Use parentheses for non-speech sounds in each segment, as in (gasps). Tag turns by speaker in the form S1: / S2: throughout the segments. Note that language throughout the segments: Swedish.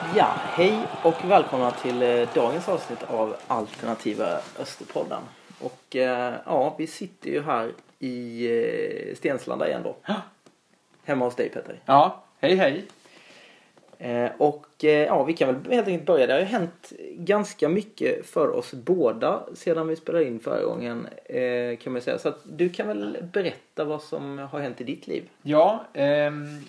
S1: Hej och välkomna till eh, dagens avsnitt av Alternativa Österpodden. Och eh, ja, vi sitter ju här i eh, Stenslanda igen då. (gasps) Hemma hos dig Petter.
S2: Ja, hej hej.
S1: Eh, och eh, ja, vi kan väl helt enkelt börja. Det har ju hänt ganska mycket för oss båda sedan vi spelade in förra gången. Eh, kan man säga. Så att du kan väl berätta vad som har hänt i ditt liv.
S2: Ja, ehm,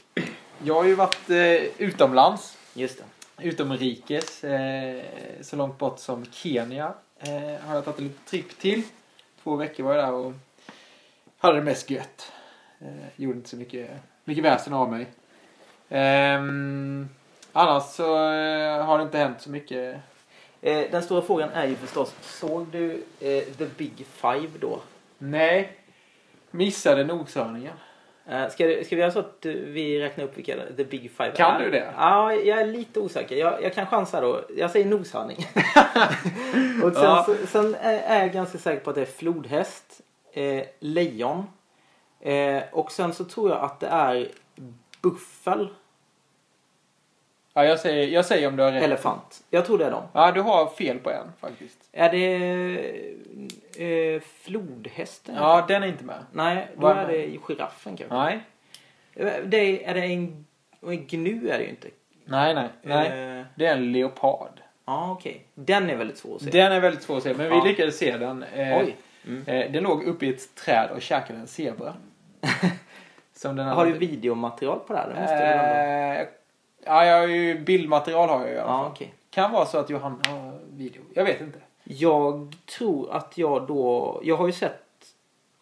S2: jag har ju varit eh, utomlands,
S1: Just det.
S2: utomrikes, eh, så långt bort som Kenya eh, har jag tagit en liten tripp till. Två veckor var jag där och hade det mest gött. Eh, gjorde inte så mycket, mycket väsen av mig. Ehm, annars så eh, har det inte hänt så mycket.
S1: Eh, den stora frågan är ju förstås, såg du eh, The Big Five då?
S2: Nej, missade noshörningen.
S1: Eh, Ska, du- ska vi göra så att du- vi räknar upp vilka the big five
S2: Kan
S1: är?
S2: du det?
S1: Ja, jag är lite osäker. Jag, jag kan chansa då. Jag säger
S2: (laughs)
S1: noshörning. och sen,
S2: Ja.
S1: så, sen är är jag ganska säker på att det är flodhäst, eh, lejon eh, och sen så tror jag att det är buffel,
S2: Ja, jag säger, jag säger om du har rätt.
S1: elefant. Jag tror det är dem.
S2: Ja, du har fel på en faktiskt.
S1: Är det eh, flodhästen?
S2: Ja, den är inte med.
S1: Nej, då
S2: Vad är
S1: är
S2: det?
S1: det giraffen kanske.
S2: Nej.
S1: Eh, Det, är det en, en gnu är det ju inte.
S2: Nej, nej. nej.
S1: Eh,
S2: Det är en leopard.
S1: Ja, okej. Den är väldigt svår att se.
S2: Den är väldigt svår att se, men
S1: Ja.
S2: vi lyckades se den. Eh,
S1: Oj.
S2: eh, den låg uppe i ett träd och käkade
S1: (laughs)
S2: en zebra. Som den
S1: Har du videomaterial på det här? Det måste du väl ändå...
S2: eh, Ja, jag har ju bildmaterial har jag ju i alla fall.
S1: Ja, okej.
S2: Kan vara så att Johanna har video. Jag vet inte.
S1: Jag tror att jag då... Jag har ju sett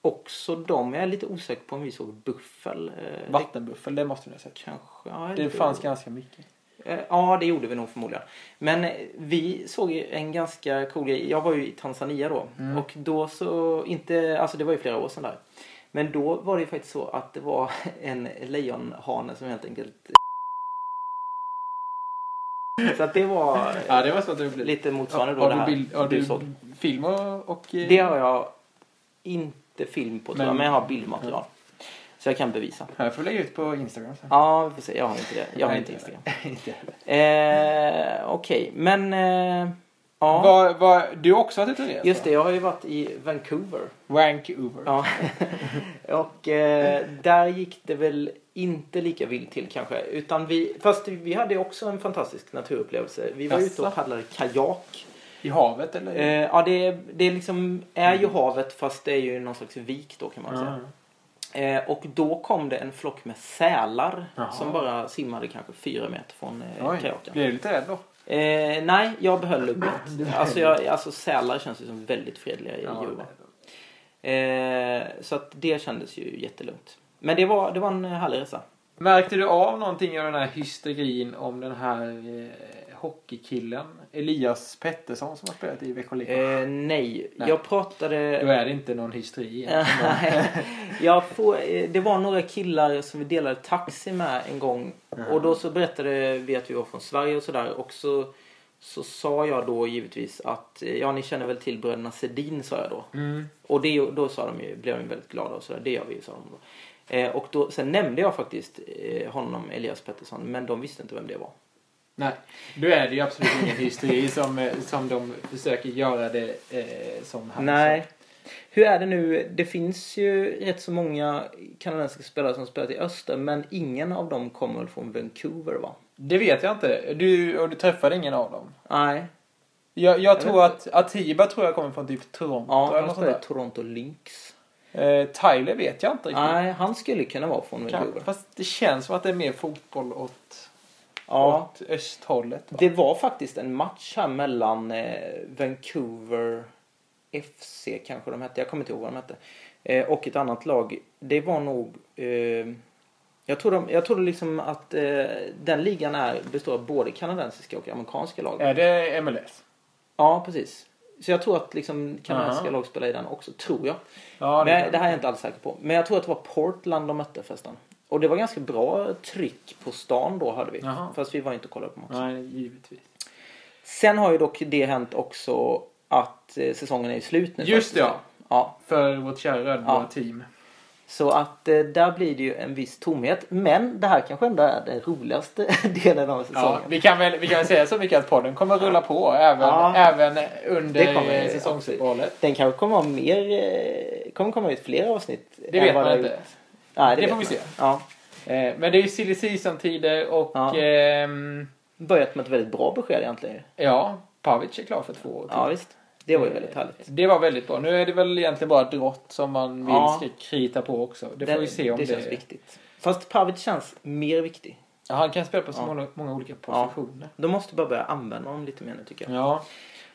S1: också dem. Jag är lite osäker på om vi såg buffel. eh, Det
S2: Vattenbuffel, det måste ni ha sett.
S1: kanske... Ja,
S2: Det fanns ganska mycket.
S1: Eh, Ja, det gjorde vi nog förmodligen. Men eh, vi såg ju en ganska cool grej. Jag var ju i Tanzania då.
S2: Mm.
S1: Och då så, inte, alltså det var ju flera år sedan där. Men då var det ju faktiskt så att det var (laughs) en lejonhane som helt enkelt... (laughs) Så att det var eh,
S2: Ja, det var så att du blev...
S1: lite motsvarande då
S2: har
S1: det
S2: du,
S1: här
S2: bild, har
S1: du
S2: du
S1: såg.
S2: film och... och eh,
S1: Det har jag inte film på tror jag,
S2: Men-
S1: men jag har bildmaterial. Så jag kan bevisa.
S2: Jag får lägga ut på Instagram sen.
S1: Ja, vi får se. Jag har inte det. Jag har
S2: Nej,
S1: inte Instagram.
S2: inte heller.
S1: Eh, Okej, men... Eh, ja.
S2: Var, var, du har också varit ute och rest?
S1: Just det,
S2: va?
S1: jag har ju varit i Vancouver.
S2: Vancouver.
S1: Ja. och eh, där gick det väl inte lika vilt till kanske. Utan vi, fast vi hade ju också en fantastisk naturupplevelse. Vi var ute och
S2: Jaså?
S1: paddlade kajak.
S2: I havet eller?
S1: Eh, ja, det, det liksom är
S2: Mm.
S1: ju havet fast det är ju någon slags vik då kan man säga.
S2: Ja.
S1: Eh, och då kom det en flock med sälar
S2: Jaha.
S1: som bara simmade kanske fyra meter från eh,
S2: Oj,
S1: kajaken.
S2: blir du lite rädd då?
S1: Eh, nej, jag behöll lugnet. Alltså, jag, alltså sälar känns ju som väldigt fredliga
S2: Ja,
S1: djur. va? Eh, så att det kändes ju jättelugnt. Men det var, det var en eh, härlig resa.
S2: Märkte du av någonting av den här hysterin om den här eh, hockeykillen Elias Pettersson som har spelat i Växjö eh,
S1: Eh, nej,
S2: Nej.
S1: jag pratade...
S2: Då är det inte någon hysteri
S1: eh.
S2: egentligen.
S1: Nej. (laughs) jag får, eh, det var några killar som vi delade taxi med en gång. Och då så berättade vi att vi var från Sverige och sådär. Och så, så sa jag då givetvis att eh, ja, ni känner väl till bröderna Sedin sa jag då.
S2: Mm.
S1: Och det, då sa de ju, blev de väldigt glada och sådär. Det gör vi ju, sa de då. Eh, och då, sen nämnde jag faktiskt eh, honom, Elias Pettersson, men de visste inte vem det var.
S2: Nej, då är det ju absolut ingen hysteri som, eh, som de försöker göra det eh, som här.
S1: Nej. Hur är det nu? Det finns ju rätt så många kanadensiska spelare som spelat i öster men ingen av dem kommer väl från Vancouver va?
S2: Det vet jag inte. Du, och du träffade ingen av dem?
S1: Nej.
S2: Jag, jag tror
S1: vet
S2: att Atiba tror jag kommer från typ Toronto
S1: Ja,
S2: eller
S1: de
S2: något sånt
S1: spelar i
S2: där.
S1: Toronto Lynx.
S2: Eh, Tyler vet jag inte riktigt.
S1: Nej, han skulle kunna vara från
S2: Kanske.
S1: Vancouver.
S2: Fast det känns som att det är mer fotboll åt,
S1: Ja.
S2: åt östhållet. va?
S1: Det var faktiskt en match här mellan eh, Vancouver FC kanske de hette. Jag kommer inte ihåg vad de hette. Eh, och ett annat lag. Det var nog... Eh, jag tror, de, jag tror liksom att eh, den ligan är, består av både kanadensiska och amerikanska lag.
S2: Är det MLS?
S1: Ja, precis. Så jag tror att liksom kanadensiska
S2: Aha.
S1: lag spelar i den också, tror jag.
S2: Ja, det
S1: Men,
S2: kan-
S1: det här är jag inte alls säker på. Men jag tror att det var Portland de mötte förresten. Och det var ganska bra tryck på stan då hade vi.
S2: Jaha.
S1: Fast vi var inte och kollade på matchen.
S2: Nej, givetvis.
S1: Sen har ju dock det hänt också att eh, säsongen är ju slut nu.
S2: Just
S1: faktiskt.
S2: det, ja.
S1: ja.
S2: För vårt kära rödblå
S1: Ja.
S2: team.
S1: Så att eh, där blir det ju en viss tomhet. Men det här kanske ändå är den roligaste (laughs) delen av
S2: Ja,
S1: säsongen.
S2: vi, kan väl, vi kan väl säga så mycket att podden kommer att rulla på även,
S1: Ja.
S2: även
S1: Det
S2: under
S1: kommer-
S2: eh, säsongsuppehållet.
S1: Den kanske kommer ha mer, eh, kommer komma ut fler avsnitt.
S2: Det
S1: än
S2: vet
S1: vad
S2: man
S1: har
S2: inte.
S1: gjort. Nej, det
S2: Det
S1: vet
S2: får vi
S1: man.
S2: se.
S1: Ja.
S2: Eh, Men det är ju silly season-tider och
S1: Ja.
S2: ehm,
S1: Börjat med ett väldigt bra besked egentligen. ju.
S2: ja, Pavic är klar för två år till.
S1: Ja, visst. Det
S2: Eh,
S1: var ju väldigt härligt.
S2: Det var väldigt bra. Nu är det väl egentligen bara Drott som man vill
S1: Ja.
S2: ska krita på också. Det får
S1: Den-
S2: vi se om det...
S1: det känns viktigt. Fast Pavic känns mer viktig.
S2: Ja, han kan spela på så
S1: Ja.
S2: många, många olika positioner.
S1: De måste bara börja använda honom lite mer nu tycker
S2: Ja.
S1: jag.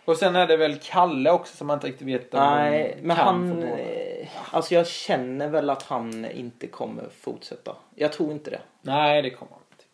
S2: Och sen är det väl Kalle också som man inte riktigt vet om
S1: Nej,
S2: han
S1: men
S2: kan
S1: han...
S2: få gå.
S1: eh, Alltså jag känner väl att han inte kommer fortsätta. Jag tror inte det.
S2: Nej, det kommer han inte.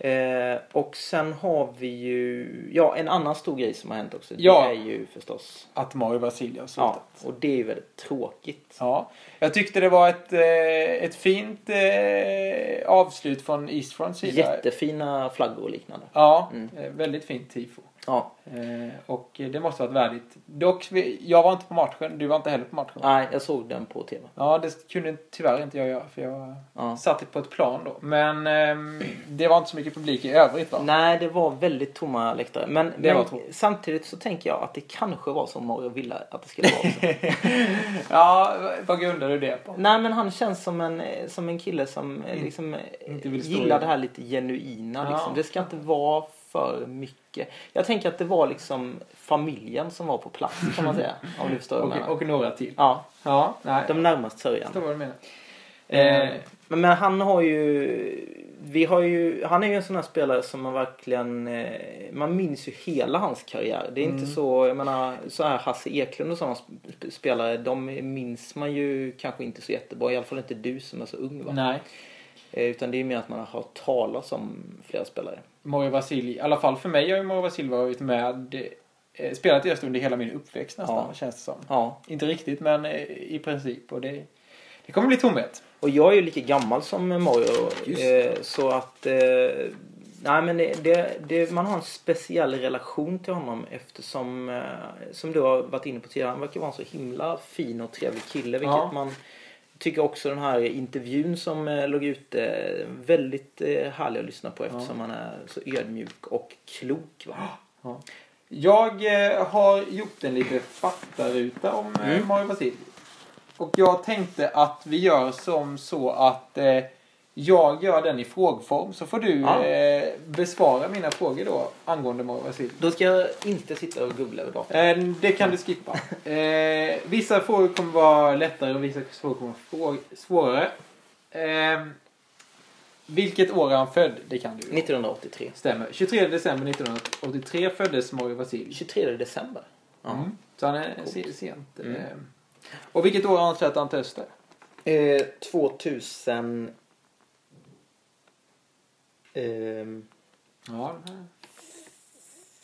S1: Eh, och sen har vi ju... Ja, en annan stor grej som har hänt också.
S2: Ja.
S1: Det är ju förstås...
S2: Att Mario Vasiljev har slutat.
S1: Ja, och det är ju väldigt tråkigt.
S2: Ja, jag tyckte det var ett, eh, ett fint eh, avslut från Eastfronts sida.
S1: Jättefina flaggor och liknande.
S2: Ja,
S1: Mm.
S2: eh, väldigt fint tifo.
S1: Ja,
S2: Eh, och eh, det måste varit värdigt. Dock, vi- jag var inte på matchen, du var inte heller på matchen.
S1: nej, jag såg den på tv.
S2: Ja, det kunde tyvärr inte jag göra för jag
S1: Ja.
S2: satt på ett plan då. Men ehm, det var inte så mycket publik i övrigt va?
S1: Nej, det var väldigt tomma läktare. Men,
S2: Det var
S1: men
S2: tråkigt.
S1: samtidigt så tänker jag att det kanske var som Mario ville att det skulle vara. också.
S2: ja, vad grundar du det på?
S1: Nej, men han känns som en, eh, som en kille som eh, liksom, eh,
S2: Inte vill stå
S1: gillar
S2: i-
S1: det här lite genuina.
S2: Ja.
S1: Liksom. Det ska inte vara för mycket. Jag tänker att det var liksom familjen som var på plats kan man säga. om du förstår vad jag
S2: Och,
S1: menar.
S2: och några till.
S1: Ja,
S2: Ja, nej.
S1: de närmast
S2: Jag
S1: sörjande.
S2: förstår vad du menar.
S1: Eh,
S2: Eh,
S1: men, men han har ju... Vi har ju, han är ju en sån här spelare som man verkligen... eh, Man minns ju hela hans karriär. Det är inte så, jag menar, så här Hasse Eklund och sådana sp- spelare, de minns man ju kanske inte så jättebra. I alla fall inte du som är så ung va?
S2: nej.
S1: Eh, Utan det är ju mer att man har hört talas om flera spelare.
S2: Mario Vasilj, i alla fall för mig har ju Mario Vasilj varit med, eh, spelat i Öster under hela min uppväxt nästan,
S1: Ja.
S2: känns det som.
S1: Ja.
S2: Inte riktigt, men eh, i princip. Och det, det kommer bli tomhet.
S1: Och jag är ju lika gammal som Mario.
S2: Just
S1: Eh, så att... Eh, nej men det, det, det, man har en speciell relation till honom eftersom, eh, som du har varit inne på tidigare, han verkar vara en så himla fin och trevlig kille. Vilket
S2: Ja.
S1: man tycker också den här intervjun som eh, låg ute, eh, väldigt eh, härlig att lyssna på eftersom han är så ödmjuk och klok. Va?
S2: Jag eh, har gjort en liten faktaruta om eh,
S1: Mm.
S2: Mario Vasilj. Och jag tänkte att vi gör som så att eh, jag gör den i frågform så får du
S1: Ja.
S2: eh, besvara mina frågor då angående Mario Vasilj.
S1: Då ska jag inte sitta och googla över datorn.
S2: Eh, det kan du skippa.
S1: (laughs)
S2: Eh, vissa frågor kommer vara lättare och vissa frågor kommer vara frå- svårare. Eh, vilket år är han född? Det kan du.
S1: 1983.
S2: Stämmer. 23 december 1983 föddes Mario Vasilj.
S1: 23 december. Ja.
S2: Mm. Så han är se-
S1: Coolt.
S2: sent.
S1: Mm.
S2: Eh, Och vilket år anser du att han töste?
S1: Eh, 2000... Ehm,
S2: Ja.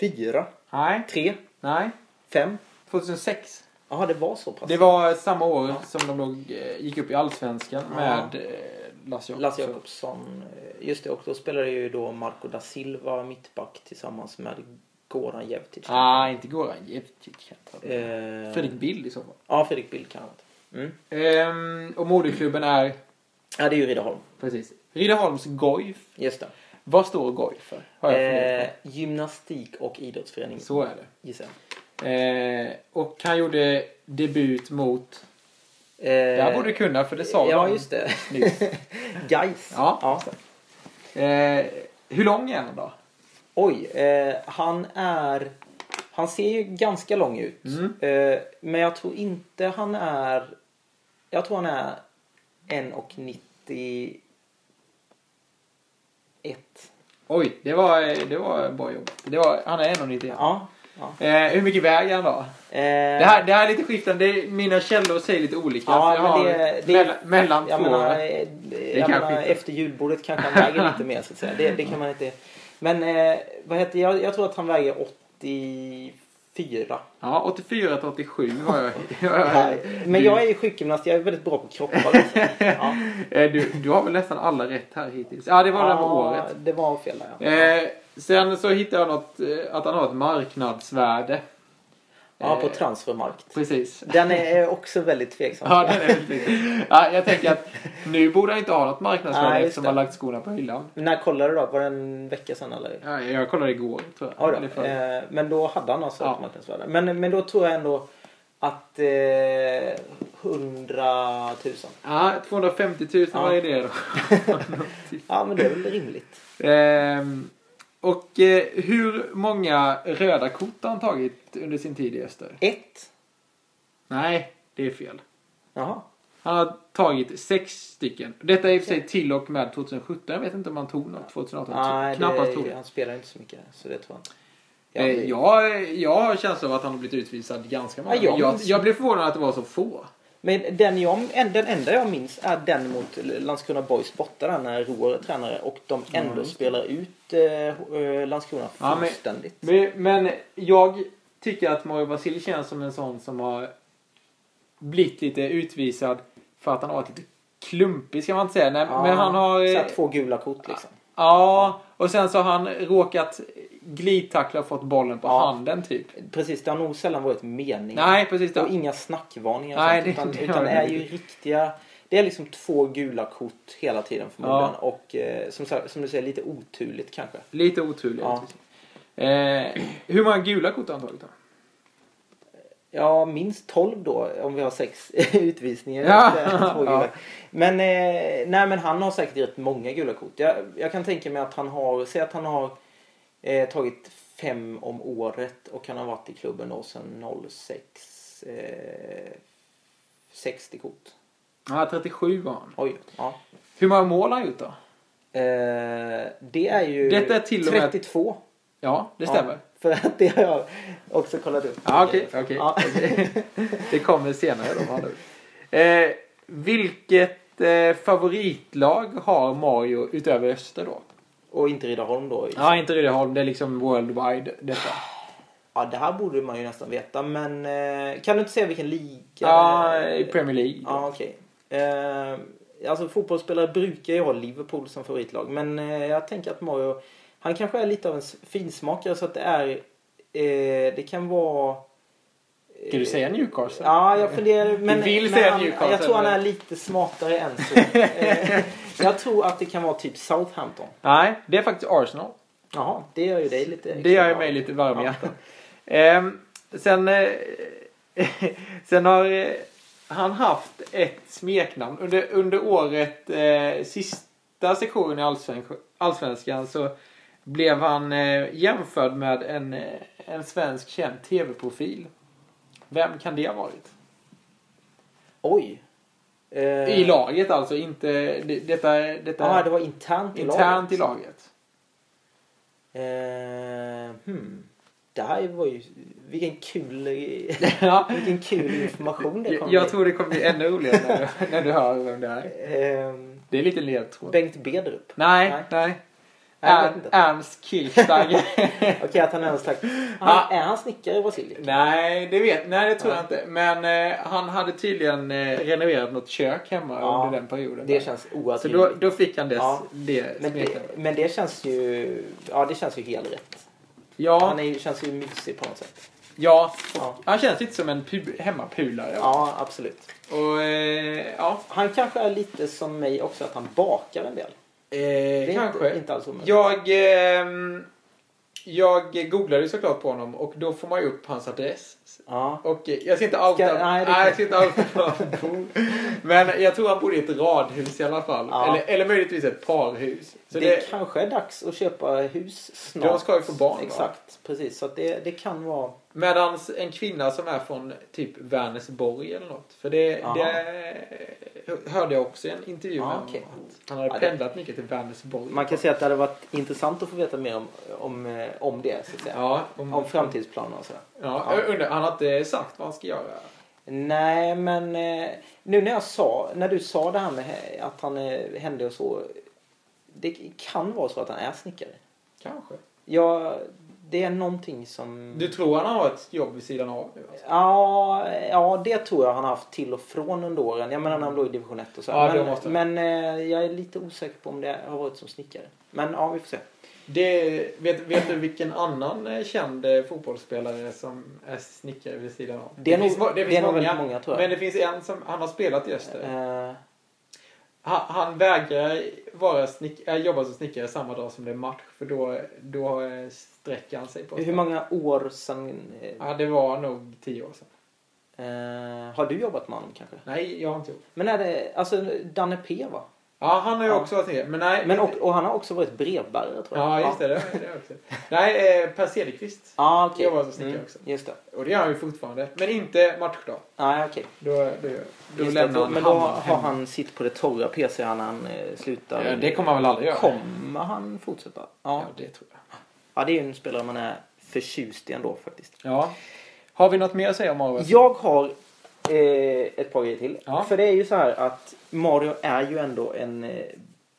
S1: fyra,
S2: Nej.
S1: tre,
S2: Nej.
S1: fem.
S2: 2006.
S1: Jaha, det var så pass.
S2: Det var samma år
S1: Ja.
S2: som de låg, eh, gick upp i Allsvenskan
S1: Ja.
S2: med eh, Lasse Jacobsson.
S1: Lasse Jacobsson. eh, Just det, och då spelade ju då Marco da Silva mittback tillsammans med Goran Jevtic.
S2: Ah, inte Goran Jevtic.
S1: Eh,
S2: Fredrik Bill i så fall.
S1: Ja, Fredrik Bill kan det mm.
S2: Ehm, och moderklubben är
S1: Ja, det är ju Riddarholm.
S2: precis Riddarholms Goif.
S1: Just det.
S2: Vad står Goif för? Har jag funderat
S1: Eh, gymnastik och
S2: på.
S1: idrottsförening,
S2: Så är det.
S1: gissar jag.
S2: Eh, och han gjorde debut mot...
S1: Eh,
S2: Det här borde du kunna för det sa
S1: Ja,
S2: de
S1: just det. (laughs)
S2: nyss.
S1: Gais.
S2: Ja. Eh, hur lång är han då?
S1: Oj, eh, han är... Han ser ju ganska lång ut.
S2: Mm.
S1: Eh, men jag tror inte han är... Jag tror han är 1,91.
S2: Oj, det var, det var bra jobbat. Det var, han är 1,91.
S1: Ja. ja.
S2: Eh, hur mycket väger han då?
S1: Eh,
S2: Det här, det här är lite skiftande. Det är, mina källor säger lite olika.
S1: Ja,
S2: så jag
S1: men
S2: har
S1: det- det-
S2: mellan, mellan
S1: jag
S2: två.
S1: menar, eh, jag
S2: kan
S1: menar
S2: skifta.
S1: efter julbordet kanske han väger lite mer så att säga. Det, det kan man inte... Men eh, vad heter jag, jag tror att han väger 84.
S2: Ja, 84 till 87 har jag. (laughs) har jag-
S1: Men jag är ju sjukgymnast, jag är väldigt bra på
S2: (laughs)
S1: kroppar. Också. Ja.
S2: Eh, Du, du har väl nästan alla rätt här hittills. Ja, det var det där med året.
S1: det var fel där ja.
S2: Eh, sen så hittade jag något, eh, att han har ett marknadsvärde.
S1: Ja, på
S2: Eh,
S1: transfermarkt.
S2: Precis.
S1: Den är också väldigt tveksam.
S2: Ja, den är väldigt (laughs) viktig. ja, jag tänker att nu borde han inte ha något
S1: Nej,
S2: marknadsvärde
S1: just
S2: eftersom
S1: det.
S2: han lagt skorna på hyllan.
S1: När kollade du då? Var det en vecka sedan eller?
S2: Ja, jag kollade igår tror jag.
S1: Ja,
S2: Eller
S1: då.
S2: förr.
S1: Eh, men då hade han alltså
S2: Ja.
S1: ett marknadsvärde. Men, men då tror jag ändå att eh, 100 000.
S2: ja 250 000 var
S1: Ja.
S2: det det då.
S1: Ja, men det är väl rimligt.
S2: Ehm, och eh, hur många röda kort har han tagit under sin tid i Öster?
S1: Ett?
S2: Nej, det är fel.
S1: Jaha.
S2: Han har tagit sex stycken. Detta är i och för sig till och med 2017. Jag vet inte om han tog något 2018.
S1: Nej,
S2: Knappast
S1: det,
S2: tror jag.
S1: han spelar inte så mycket. Så det tror jag inte.
S2: Eh,
S1: Jag-
S2: Jag, jag har en känsla av att han har blivit utvisad ganska många
S1: Ja, jag
S2: gånger. jag,
S1: minns-
S2: jag blev förvånad att det var så få.
S1: Men den, jag, en- den enda jag minns är den mot Landskrona Boys borta där när Roar är tränare och de ändå spelar ut eh, eh, Landskrona
S2: Mm. Ja, men-
S1: fullständigt.
S2: Men, men jag tycker att Mario Basili känns som en sån som har blivit lite utvisad för att han har varit lite klumpig ska man inte säga. Nej,
S1: Ja,
S2: men han har...
S1: Så
S2: eh,
S1: här, två gula kort liksom.
S2: Ja, och sen så har han råkat glidtackla och fått bollen på
S1: Ja.
S2: handen typ.
S1: Precis, det har nog sällan varit meningen.
S2: Nej, precis. Det.
S1: Och inga snackvarningar och
S2: Nej,
S1: sånt,
S2: det-
S1: utan,
S2: det har
S1: utan det
S2: det
S1: är ju
S2: blivit.
S1: riktiga... Det är liksom två gula kort hela tiden förmodligen.
S2: Ja.
S1: Och eh, som, sa- som du säger, lite oturligt kanske.
S2: Lite oturligt.
S1: Ja.
S2: Eh, hur många gula kort har han tagit då?
S1: Ja, minst 12 då om vi har sex (laughs) utvisningar.
S2: Ja.
S1: Efter två gula.
S2: Ja.
S1: Men, eh, nej, men han har säkert rätt många gula kort. Jag, jag kan tänka mig att han har, säg att han har eh, tagit fem om året och han har varit i klubben då sedan 06. Eh, 60 kort.
S2: Ja, 37 var han.
S1: Oj, ja.
S2: Hur många mål har han gjort då?
S1: Eh, det är ju
S2: Detta är till och med-
S1: 32.
S2: Ja, det stämmer.
S1: Ja, för att det har jag också kollat upp.
S2: Ja, okej, okej.
S1: Ja.
S2: Det kommer senare då. med andra ord. Eh, vilket eh, favoritlag har Mario utöver Öster då?
S1: Och inte Riddarholm då.
S2: Ja, inte Rydöholm. Det är liksom worldwide detta.
S1: Ja, det här borde man ju nästan veta. Men eh, kan du inte säga vilken liga?
S2: Ja,
S1: det är?
S2: i Premier League.
S1: Ja, okej. Eh, alltså fotbollsspelare brukar ju ha Liverpool som favoritlag. Men eh, jag tänker att Mario, han kanske är lite av en s- finsmakare så att det är, eh, det kan vara... eh,
S2: Ska du säga Newcastle?
S1: Ja, jag funderar. Men,
S2: Du vill
S1: men
S2: säga
S1: han,
S2: Newcastle,
S1: Jag tror han är
S2: men-
S1: lite smartare än
S2: (laughs)
S1: så. Eh, jag tror att det kan vara typ Southampton.
S2: Nej, det är faktiskt Arsenal.
S1: Jaha, det gör ju dig lite...
S2: Det gör ju mig lite varm i hjärtat. Ehm, sen, eh, (laughs) sen har eh, han haft ett smeknamn. Under, under året, eh, sista sektionen i Allsvenskan, Allsvenskan så blev han eh, jämförd med en, eh, en svensk känd tv-profil. Vem kan det ha varit?
S1: Oj. Eh,
S2: I laget alltså, inte... det- Detta, detta
S1: Ja, det var internt i
S2: internt i laget.
S1: Eh, hmm. Det här var ju... Vilken kul,
S2: ja,
S1: vilken kul information det kom
S2: jag, jag
S1: in.
S2: tror det kommer bli ännu roligare när
S1: (laughs)
S2: du, när du hör vem det är.
S1: Ehm,
S2: Det är lite ledtråd.
S1: Bengt Bedrup.
S2: Nej,
S1: Nej.
S2: nej.
S1: Nej, jag vet
S2: Ern-
S1: inte.
S2: Ernst Kirchsteiger.
S1: Okej, att han är en slags... Han,
S2: Ja.
S1: Är han snickare i Brasilien?
S2: (laughs) nej, det vet Nej, det tror
S1: Ja.
S2: jag inte. Men eh, han hade tydligen eh, renoverat något kök hemma
S1: Ja,
S2: under den perioden.
S1: Det
S2: där.
S1: känns
S2: så
S1: oatroligt.
S2: då, då fick han dess,
S1: Ja.
S2: det
S1: Men
S2: smeknamnet.
S1: det, men det känns ju... Ja, det känns ju helt rätt.
S2: Ja,
S1: Han är, ju- känns ju mysig på något sätt.
S2: ja.
S1: Ja,
S2: Han känns lite som en pu- hemmapulare.
S1: ja absolut.
S2: Och, eh, ja.
S1: Han kanske är lite som mig också, att han bakar en del. Det är
S2: Eh, kanske.
S1: Inte, inte alls omöjligt.
S2: Jag, ehm, jag googlade ju såklart på honom och då får man ju upp hans adress.
S1: Ja.
S2: Och eh, jag ser inte outa,
S1: Ska- nej,
S2: nej,
S1: det kan-
S2: jag ser inte outa var han bor. Men jag tror han bor i ett radhus i alla fall.
S1: Ja.
S2: Eller, eller möjligtvis ett parhus. Så
S1: det,
S2: det,
S1: kanske är dags att köpa hus snart.
S2: De ska ju få barn, va?
S1: Exakt, precis. Så att det, det kan vara...
S2: Medans en kvinna som är från typ Vänersborg eller något. För det,
S1: Aha.
S2: det hörde jag också i en intervju
S1: Ja,
S2: med honom.
S1: okej.
S2: att Han hade
S1: Ja, det-
S2: pendlat mycket till Vänersborg.
S1: Man kan säga att det hade varit intressant att få veta mer om, om, eh, om det, så att säga.
S2: Ja, om,
S1: Om framtidsplaner och sådär.
S2: ja, jag Undrar, han har inte sagt vad han ska göra.
S1: Nej, men eh, nu när jag sa, när du sa det här med he- att han eh, hände och så. Det kan vara så att han är snickare.
S2: Kanske.
S1: Mm. Ja, det är någonting som...
S2: Du tror han har ett jobb vid sidan av nu? Alltså.
S1: Ja, ja, det tror jag han har haft till och från under åren. Jag menar när han låg i division 1 och så.
S2: Ja, det
S1: men
S2: måste-
S1: men eh, jag är lite osäker på om det har varit som snickare. Men ja, vi får se.
S2: Det, vet, vet du vilken annan eh, känd eh, fotbollsspelare som är snickare vid sidan av?
S1: Det är nog-
S2: må-
S1: det är nog väldigt många, tror jag.
S2: Men det finns en som, han har spelat i Öster.
S1: Eh,
S2: Han, han vägrar vara snick, äh, jobba som snickare samma dag som det är match för då, då eh, sträcker han sig på sig.
S1: hur många år sedan eh,
S2: Ja, det var nog tio år sedan.
S1: eh, har du jobbat med honom kanske?
S2: Nej, jag har inte gjort.
S1: Men är det, alltså Danne P va?
S2: Ja, han har ju
S1: Ja.
S2: också varit snickare. Men nej.
S1: Men, och, och han har också varit brevbärare tror jag.
S2: Ja, just det. det, det också. Nej, eh, Per Cederqvist.
S1: Ja, okej.
S2: Jag var som snickare
S1: Mm,
S2: också.
S1: Just det.
S2: Och det gör han ju fortfarande. Men inte matchdag.
S1: Nej, okej.
S2: Då, då, då
S1: Just det,
S2: lämnar
S1: då-
S2: han
S1: Men då
S2: hamn-
S1: har
S2: hem.
S1: han sitt på det torra PC när han eh, slutar.
S2: Ja, det kommer han väl aldrig göra?
S1: Kommer han fortsätta? Ja.
S2: Ja, det tror jag.
S1: ja, det är ju en spelare man är förtjust i ändå faktiskt.
S2: Ja. Har vi något mer att säga om Mario?
S1: Jag har eh, ett par grejer till.
S2: Ja.
S1: För det är ju så här att Mario är ju ändå en eh,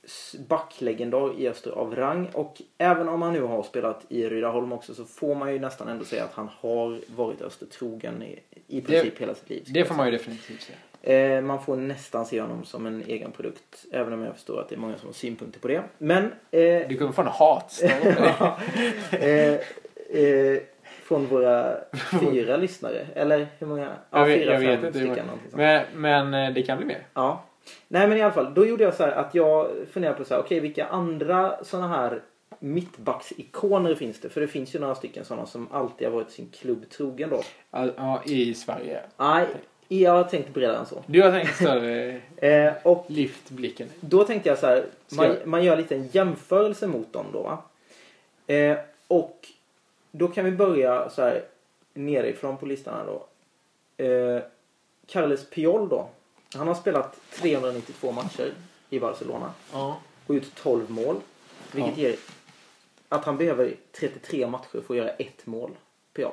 S1: s- backlegendar i Öster av rang. Och även om han nu har spelat i Rydaholm också så får man ju nästan ändå säga att han har varit Öster trogen i, i princip hela sitt liv. skulle
S2: Det
S1: jag
S2: får man ju definitivt säga.
S1: Eh, man får nästan se honom som en egen produkt. Även om jag förstår att det är många som har synpunkter på det. Men... Eh,
S2: Du kommer få en (laughs) hatstorm.
S1: eh, (laughs) eh, från våra fyra lyssnare. Eller hur många?
S2: jag vet,
S1: fyra,
S2: jag vet
S1: fem
S2: inte. hur
S1: stycken.
S2: många.
S1: någonting sånt.
S2: Men, men eh, det kan bli mer.
S1: Ja. Nej men i alla fall, då gjorde jag så här att jag funderade på så här, okej vilka andra sådana här mittbacksikoner finns det? För det finns ju några stycken sådana som alltid har varit sin klubb trogen då.
S2: Ja, Ja, i Sverige.
S1: Nej, jag har tänkt bredare än så.
S2: Du har tänkt större
S1: Eh, och
S2: lyft blicken.
S1: Då tänkte jag så här,
S2: Ska
S1: man,
S2: jag-
S1: man gör lite en jämförelse mot dem då. Va? Eh, och då kan vi börja så här nerifrån på listan här då. Eh, Carles Piol då. Han har spelat 392 matcher i Barcelona
S2: Ja.
S1: och gjort 12 mål. Vilket
S2: Ja.
S1: ger att han behöver 33 matcher för att göra ett mål. Piol.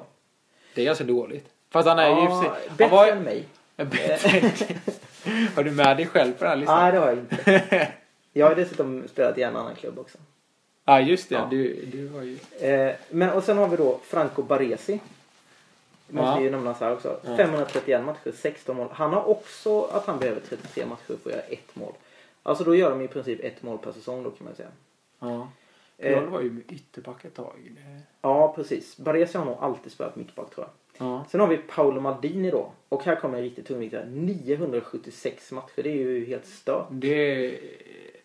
S2: Det är ganska dåligt. Fast han är ju i och för
S1: Ja,
S2: sig- han
S1: Ah, bättre
S2: var-
S1: än mig.
S2: (laughs) Har du med dig själv på den här listan?
S1: Nej, det har jag inte.
S2: (laughs)
S1: Jag har dessutom spelat i en annan klubb också.
S2: Ja, just det.
S1: Ja.
S2: Du, du var ju...
S1: Eh, men och sen har vi då Franco Baresi. Måste
S2: Ja.
S1: ju nämnas här också.
S2: Ja.
S1: 531 matcher, 16 mål. Han har också att han behöver 33 matcher för att göra ett mål. Alltså då gör de i princip ett mål per säsong då kan man säga.
S2: Ja.
S1: Eh,
S2: Piol var ju med ytterback ett tag.
S1: ja, precis. Baresi har nog alltid spelat mittback tror jag.
S2: Ja.
S1: Sen har vi Paolo Maldini då. Och här kommer en riktigt tungviktare. 976 matcher. Det är ju helt stört.
S2: Det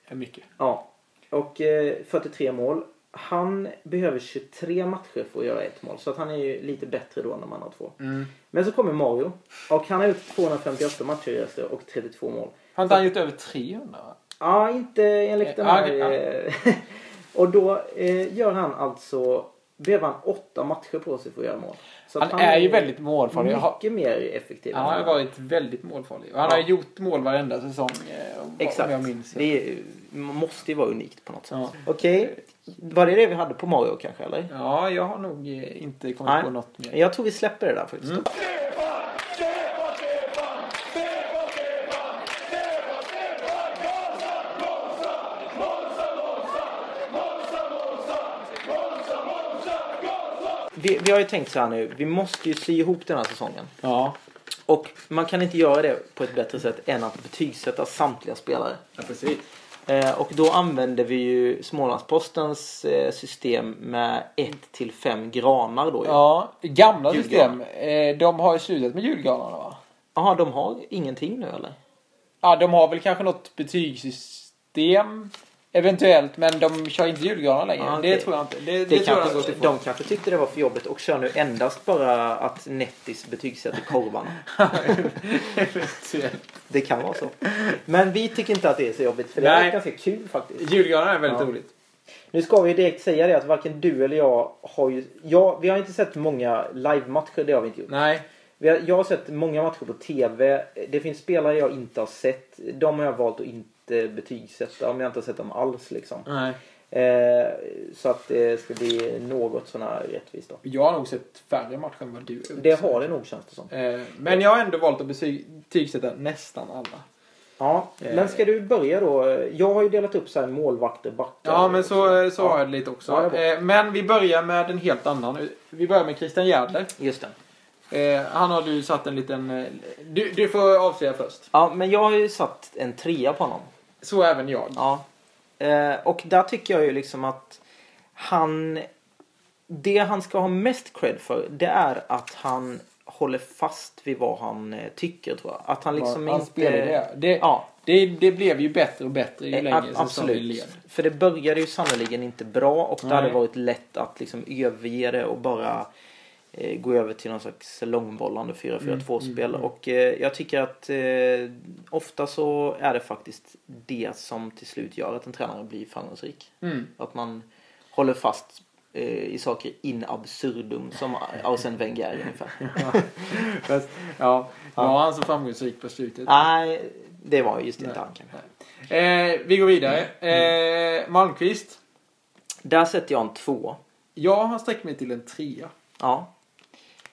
S2: är mycket.
S1: Ja. Och eh, 43 mål. Han behöver 23 matcher för att göra ett mål. Så att han är ju lite bättre då när man har två.
S2: Mm.
S1: Men så kommer Mario. Och han har gjort 258 matcher i Öster och 32 mål.
S2: Har inte han gjort över 300? va?
S1: Ja, inte enligt den här.
S2: Ja,
S1: eh, (laughs) och då eh, gör han alltså... Behöver han åtta matcher på sig för att göra mål. Så
S2: Han
S1: att Mm.
S2: är ju väldigt målfarlig.
S1: mycket
S2: Har-
S1: mer effektiv.
S2: Ja,
S1: än
S2: han har
S1: vad-
S2: varit väldigt målfarlig. Och han
S1: Ja.
S2: har gjort mål varenda säsong. eh, om- Om
S1: Exakt.
S2: jag minns rätt.
S1: Det är, måste ju vara unikt på något sätt.
S2: Ja.
S1: Okej. Var det det vi hade på Mario kanske, eller?
S2: ja, jag har nog eh, inte kommit på något mer.
S1: Jag tror vi släpper det där faktiskt. Vi, vi har ju tänkt så här nu, vi måste ju sy ihop den här säsongen.
S2: Ja.
S1: Och man kan inte göra det på ett bättre sätt än att betygsätta samtliga spelare.
S2: ja, precis.
S1: Eh, och då använder vi ju Smålandspostens eh, system med 1 till 5 granar då ju.
S2: Ja, gamla
S1: Julgran.
S2: system. Eh, De har ju slutat med julgranarna va?
S1: Jaha, de har ingenting nu eller?
S2: Ja, de har väl kanske något betygssystem. Eventuellt, men de kör inte julgranar längre.
S1: Ja,
S2: Det
S1: okej.
S2: tror jag inte. Det, det,
S1: Det
S2: tror jag har gått
S1: kanske,
S2: ifrån.
S1: de kanske tyckte det var för jobbigt och kör nu endast bara att Nettis betygsätter korvarna.
S2: (laughs) Eventuellt.
S1: Det kan vara så. Men vi tycker inte att det är så jobbigt för det
S2: Nej.
S1: är ganska kul faktiskt.
S2: Julgranar är väldigt
S1: Ja.
S2: roligt.
S1: Nu ska vi direkt säga det att varken du eller jag har ju... Ja, vi har inte sett många live-matcher, det har vi inte gjort.
S2: Nej.
S1: Vi har, jag har sett många matcher på TV. Det finns spelare jag inte har sett. De har jag valt att inte betygsätta om jag inte har sett dem alls liksom.
S2: Nej.
S1: Eh, så att det ska bli något sån här rättvist då.
S2: Jag har nog sett färre matcher än vad du har gjort.
S1: Det har det nog känns det som.
S2: Eh, Men jag har ändå valt att betyg- betygsätta nästan alla.
S1: Ja,
S2: Eh.
S1: men ska du börja då? Jag har ju delat upp så här målvakter, backar.
S2: Ja, men så, så
S1: Ja,
S2: har jag det lite också.
S1: Ja, det är bra.
S2: Eh, Men vi börjar med en helt annan. Vi börjar med Christian Järdler.
S1: Just det.
S2: Eh, Han har du satt en liten... eh, Du, du får avslöja först.
S1: Ja, men jag har ju satt en trea på honom.
S2: Så även jag.
S1: Ja. Eh, och där tycker jag ju liksom att Han, det han ska ha mest cred för det är att han håller fast vid vad han eh, tycker tror jag. Att han liksom
S2: han
S1: inte...
S2: spelade det. Det,
S1: Ja,
S2: det. det blev ju bättre och bättre ju
S1: eh,
S2: längre
S1: ab-
S2: säsongen
S1: absolut.
S2: led.
S1: För det började ju sannoliken inte bra och det
S2: Nej.
S1: hade varit lätt att liksom överge det och bara eh, gå över till någon slags långbollande
S2: Mm,
S1: 4-4-2-spel. Och eh, jag tycker att eh, ofta så är det faktiskt det som till slut gör att en tränare blir framgångsrik.
S2: Mm.
S1: Att man håller fast eh, i saker in absurdum som Arsene Wenger ungefär.
S2: (laughs) Fast, ja, var han så framgångsrik på slutet?
S1: Nej, det var just inte
S2: Nej.
S1: han kanske.
S2: Eh, vi går vidare.
S1: Mm.
S2: Eh, Malmqvist.
S1: Där sätter jag en två.
S2: Jag har sträckt mig till en trea.
S1: Ja.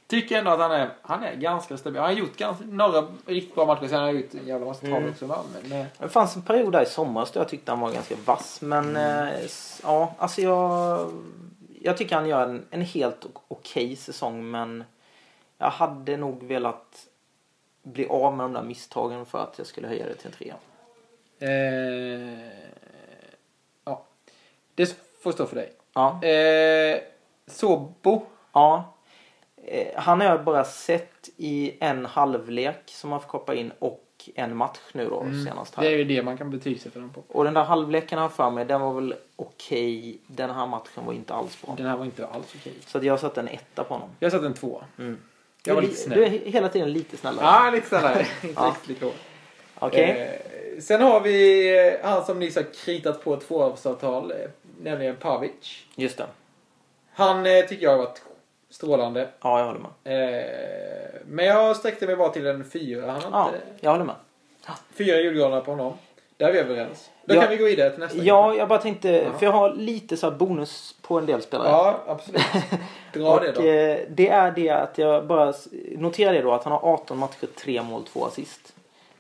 S2: Tycker ändå att han är, han är ganska stabil. Han har gjort ganska, några riktigt bra matcher. Sen har han gjort en jävla massa tavlor
S1: Mm.
S2: också. va? Men, eh,
S1: Det fanns en period där i somras då jag tyckte han var ganska vass. Men eh, s- ja, alltså jag... Jag tycker han gör en, en helt o- okej säsong men jag hade nog velat bli av med de där misstagen för att jag skulle höja det till en trea.
S2: Eh, ja. Det får stå för dig.
S1: Ja.
S2: Eh, Sobo.
S1: Ja. Eh, Han har jag bara sett i en halvlek som han får koppa in och en match nu då senast. Här.
S2: Det är ju det man kan betygsätta den på.
S1: Och den där halvleken han för mig, den var väl okej. Den här matchen var inte alls bra.
S2: Den här var inte alls okej.
S1: Så att jag satte en etta på honom.
S2: Jag satte en tvåa.
S1: Mm.
S2: Jag var
S1: Du-
S2: lite snäll.
S1: Du är he- hela tiden lite snällare.
S2: Ja, lite
S1: (laughs)
S2: snällare. inte
S1: Ja.
S2: riktigt lika hård.
S1: Okej.
S2: Eh, sen har vi eh, han som nyss har kritat på ett tvåårsavtal, eh, nämligen Pavic.
S1: Just det.
S2: Han eh, tycker jag har varit strålande.
S1: Ja, jag håller med.
S2: Eh, men jag sträckte mig bara till en fyra. Han har
S1: Ja,
S2: inte,
S1: Eh, jag håller med.
S2: Fyra julgranar på honom. Där är vi överens. Då
S1: Ja.
S2: kan vi gå vidare till nästa.
S1: Ja, jag bara tänkte,
S2: Ja.
S1: för jag har lite så här bonus på en del spelare.
S2: Ja, absolut.
S1: (laughs)
S2: Dra
S1: och,
S2: det då.
S1: eh, det är det att jag bara s- noterar det då att han har 18 matcher, 3 mål, 2 assist.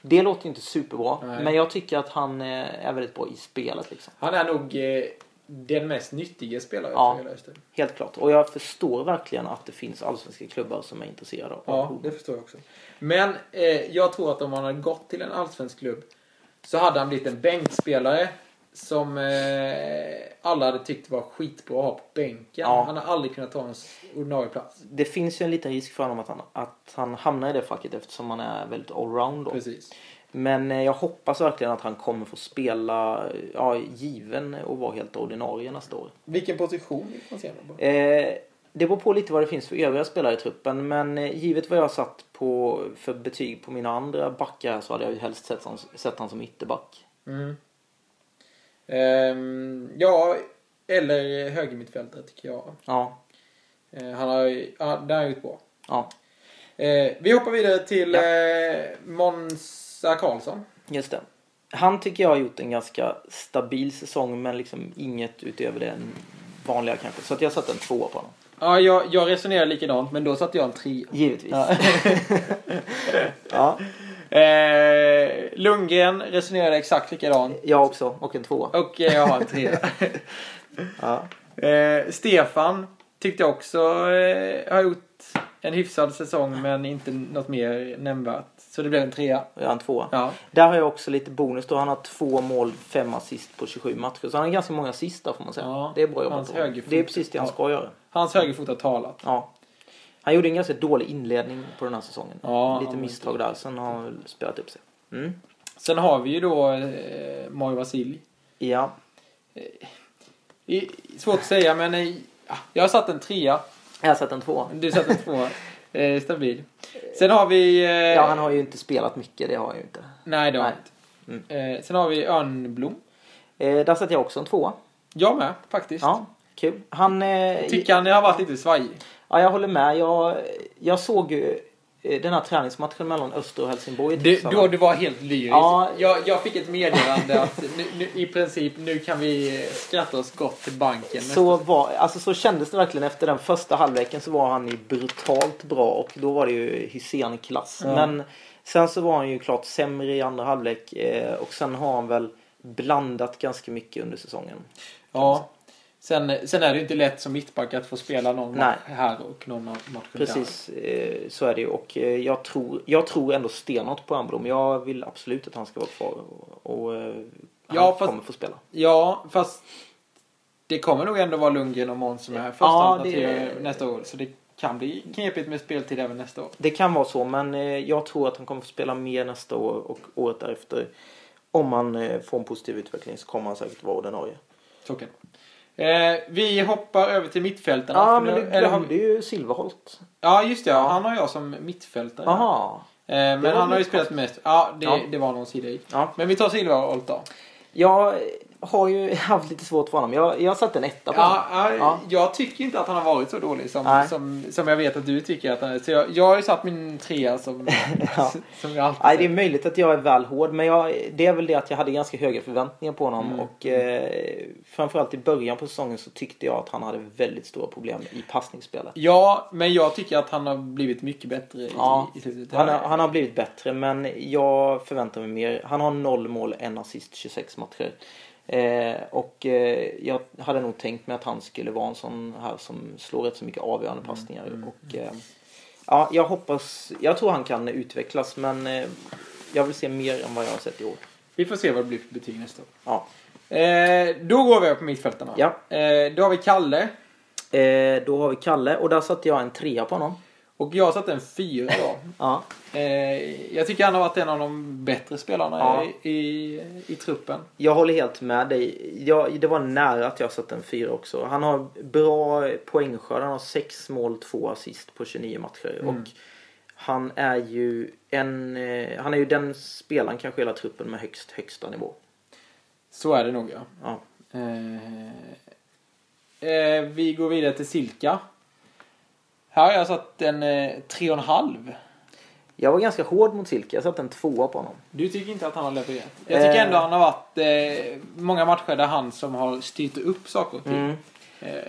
S1: Det låter ju inte superbra,
S2: Nej.
S1: men jag tycker att han eh, är väldigt bra i spelet liksom.
S2: Han är nog eh, den mest nyttige spelaren
S1: Ja.
S2: för hela Öster.
S1: Helt klart. Och jag förstår verkligen att det finns allsvenska klubbar som är intresserade av
S2: Ja,
S1: honom.
S2: det förstår jag också. Men eh, jag tror att om han hade gått till en allsvensk klubb så hade han blivit en bänkspelare som eh, alla hade tyckt var skitbra att ha på bänken.
S1: Ja.
S2: Han har aldrig kunnat ta en s- ordinarie plats.
S1: Det finns ju en liten risk för honom att han, att han hamnar i det facket eftersom han är väldigt allround då.
S2: Precis.
S1: Men eh, jag hoppas verkligen att han kommer få spela eh, ja, given och vara helt ordinarie nästa år.
S2: Vilken position vill man se honom på?
S1: Eh, det beror på lite vad det finns för övriga spelare i truppen men eh, givet vad jag har satt på för betyg på mina andra backar här så hade jag ju helst sett, han- sett han som ytterback.
S2: Mm. Ehm, ja, eller högermittfältare tycker jag.
S1: Ja,
S2: Eh, han har ju, ja, det har han gjort bra.
S1: ja,
S2: Eh, vi hoppar vidare till
S1: Ja.
S2: eh, Monsa Karlsson.
S1: just det. Han tycker jag har gjort en ganska stabil säsong men liksom inget utöver det vanliga kanske. Så att jag satte en tvåa på honom.
S2: Ja, jag, jag resonerar likadant, men då satte jag en trea.
S1: Givetvis.
S2: Ja.
S1: (laughs) ja,
S2: Eh, Lundgren resonerade exakt likadant.
S1: jag också. Och en tvåa.
S2: Och eh, jag har en (laughs) trea.
S1: Ja.
S2: eh, Stefan tyckte jag också eh, har gjort en hyfsad säsong, men inte något mer nämnvärt. Så det blev en trea.
S1: Jag har en tvåa.
S2: Ja.
S1: Där har jag också lite bonus då. Han har två mål, fem assist på 27 matcher. Så han har ganska många assist där får man säga.
S2: Ja,
S1: det är bra jobbat.
S2: hans
S1: då.
S2: högerfot.
S1: Det är precis det han
S2: Ja.
S1: ska göra.
S2: Hans högerfot har talat.
S1: Ja. Han gjorde en ganska dålig inledning på den här säsongen.
S2: Ja,
S1: lite
S2: han-
S1: misstag där. Sen har han väl spelat upp sig. Mm.
S2: Sen har vi ju då eh, Mario Vasilj.
S1: Ja.
S2: I- Svårt att säga, men eh, ja, jag har satt en trea.
S1: Jag har sett en tvåa.
S2: Du satte en
S1: (laughs)
S2: tvåa. Eh, stabil. Sen har vi... Eh,
S1: Ja, han har ju inte spelat mycket. Det har han ju inte.
S2: Nej, det har
S1: Nej. Mm.
S2: han inte. Eh, sen har vi Örnblom.
S1: Eh, där satte jag också en tvåa.
S2: Jag med, faktiskt.
S1: Ja, kul. Han... Eh,
S2: Jag Tycker han har varit lite svajig.
S1: Ja, jag håller med. Jag, jag såg ju eh, den här träningsmatchen mellan Öster och Helsingborg. i
S2: Du,
S1: tisdags.
S2: då du var helt lyrisk.
S1: Ja.
S2: Jag, jag fick ett meddelande att nu, nu, i princip nu kan vi eh, skratta oss gott till banken.
S1: Så, var, alltså så kändes det verkligen efter den första halvleken så var han ju brutalt bra och då var det ju Hysén-klass.
S2: Ja.
S1: Men sen så var han ju klart sämre i andra halvlek eh, och sen har han väl blandat ganska mycket under säsongen.
S2: Ja. Sen, sen är det ju inte lätt som mittback att få spela någon
S1: Nej.
S2: match här och någon match där.
S1: Precis, eh, så är det ju. Och eh, jag tror, jag tror ändå stenhårt på Amblom. Jag vill absolut att han ska vara kvar och, och eh, han
S2: Ja, fast-
S1: kommer få spela.
S2: Ja, fast det kommer nog ändå vara Lundgren och Måns som är första
S1: Ja,
S2: alternativet
S1: det-
S2: nästa år. Så det kan bli knepigt med speltid även nästa år.
S1: Det kan vara så, men eh, jag tror att han kommer få spela mer nästa år och året därefter. Om han eh, får en positiv utveckling så kommer han säkert vara ordinarie.
S2: Så kan det. eh, Vi hoppar över till mittfältarna.
S1: Ja,
S2: För
S1: men
S2: nu-
S1: du
S2: eller har
S1: glömde
S2: vi-
S1: ju Silverholt.
S2: ja, just det. Ja. Han har jag som mittfältare.
S1: Aha.
S2: Eh, men
S1: Det var
S2: han har ju
S1: lite
S2: spelat mest. Ja det,
S1: Ja.
S2: det var någon sida i.
S1: Ja.
S2: Men vi tar Silverholt då.
S1: Jag har ju (laughs) haft lite svårt för honom. Jag, jag satte en etta på honom.
S2: Ja, ja,
S1: Ja.
S2: Jag tycker inte att han har varit så dålig som,
S1: Nej.
S2: som, som jag vet att du tycker att han är. Så jag, jag har ju satt min trea som,
S1: (laughs) Ja.
S2: som jag alltid
S1: Nej, det är
S2: säger.
S1: möjligt att jag är väl hård, men jag, det är väl det att jag hade ganska höga förväntningar på honom. Och eh, framförallt i början på säsongen så tyckte jag att han hade väldigt stora problem i passningsspelet.
S2: Ja, men jag tycker att han har blivit mycket bättre i,
S1: Ja,
S2: i slutet.
S1: Han har, han har blivit bättre, men jag förväntar mig mer. Han har noll mål, en assist, 26 matcher. Eh, och eh, jag hade nog tänkt mig att han skulle vara en sån här som slår rätt så mycket avgörande passningar. Och, eh, ja, jag hoppas, jag tror han kan utvecklas, men eh, jag vill se mer än vad jag har sett i år.
S2: Vi får se vad det blir för betyg nästa år.
S1: Ja.
S2: Eh, då går vi över på mittfältarna.
S1: Ja.
S2: Eh, då har vi Kalle.
S1: Eh, då har vi Kalle och där satte jag en trea på honom.
S2: Och jag satte en fyra då.
S1: Ja.
S2: Eh, jag tycker han har varit en av de bättre spelarna
S1: Ja.
S2: i, i, i truppen.
S1: Jag håller helt med dig. Jag, det var nära att jag satte en fyra också. Han har bra poängskörd. Han har sex mål, två assist på 29 matcher. Och han är ju en... eh, Han är ju den spelaren kanske i hela truppen med högst högsta nivå.
S2: Så är det nog ja.
S1: Ja.
S2: Eh, eh, vi går vidare till Silka. Här har jag satt en eh, tre och en halv.
S1: Jag var ganska hård mot Silke. Jag satte en tvåa på honom.
S2: Du tycker inte att han har levererat? Jag tycker
S1: Eh.
S2: ändå han har varit eh, många matcher där han som har styrt upp saker och ting.
S1: Mm.
S2: Eh,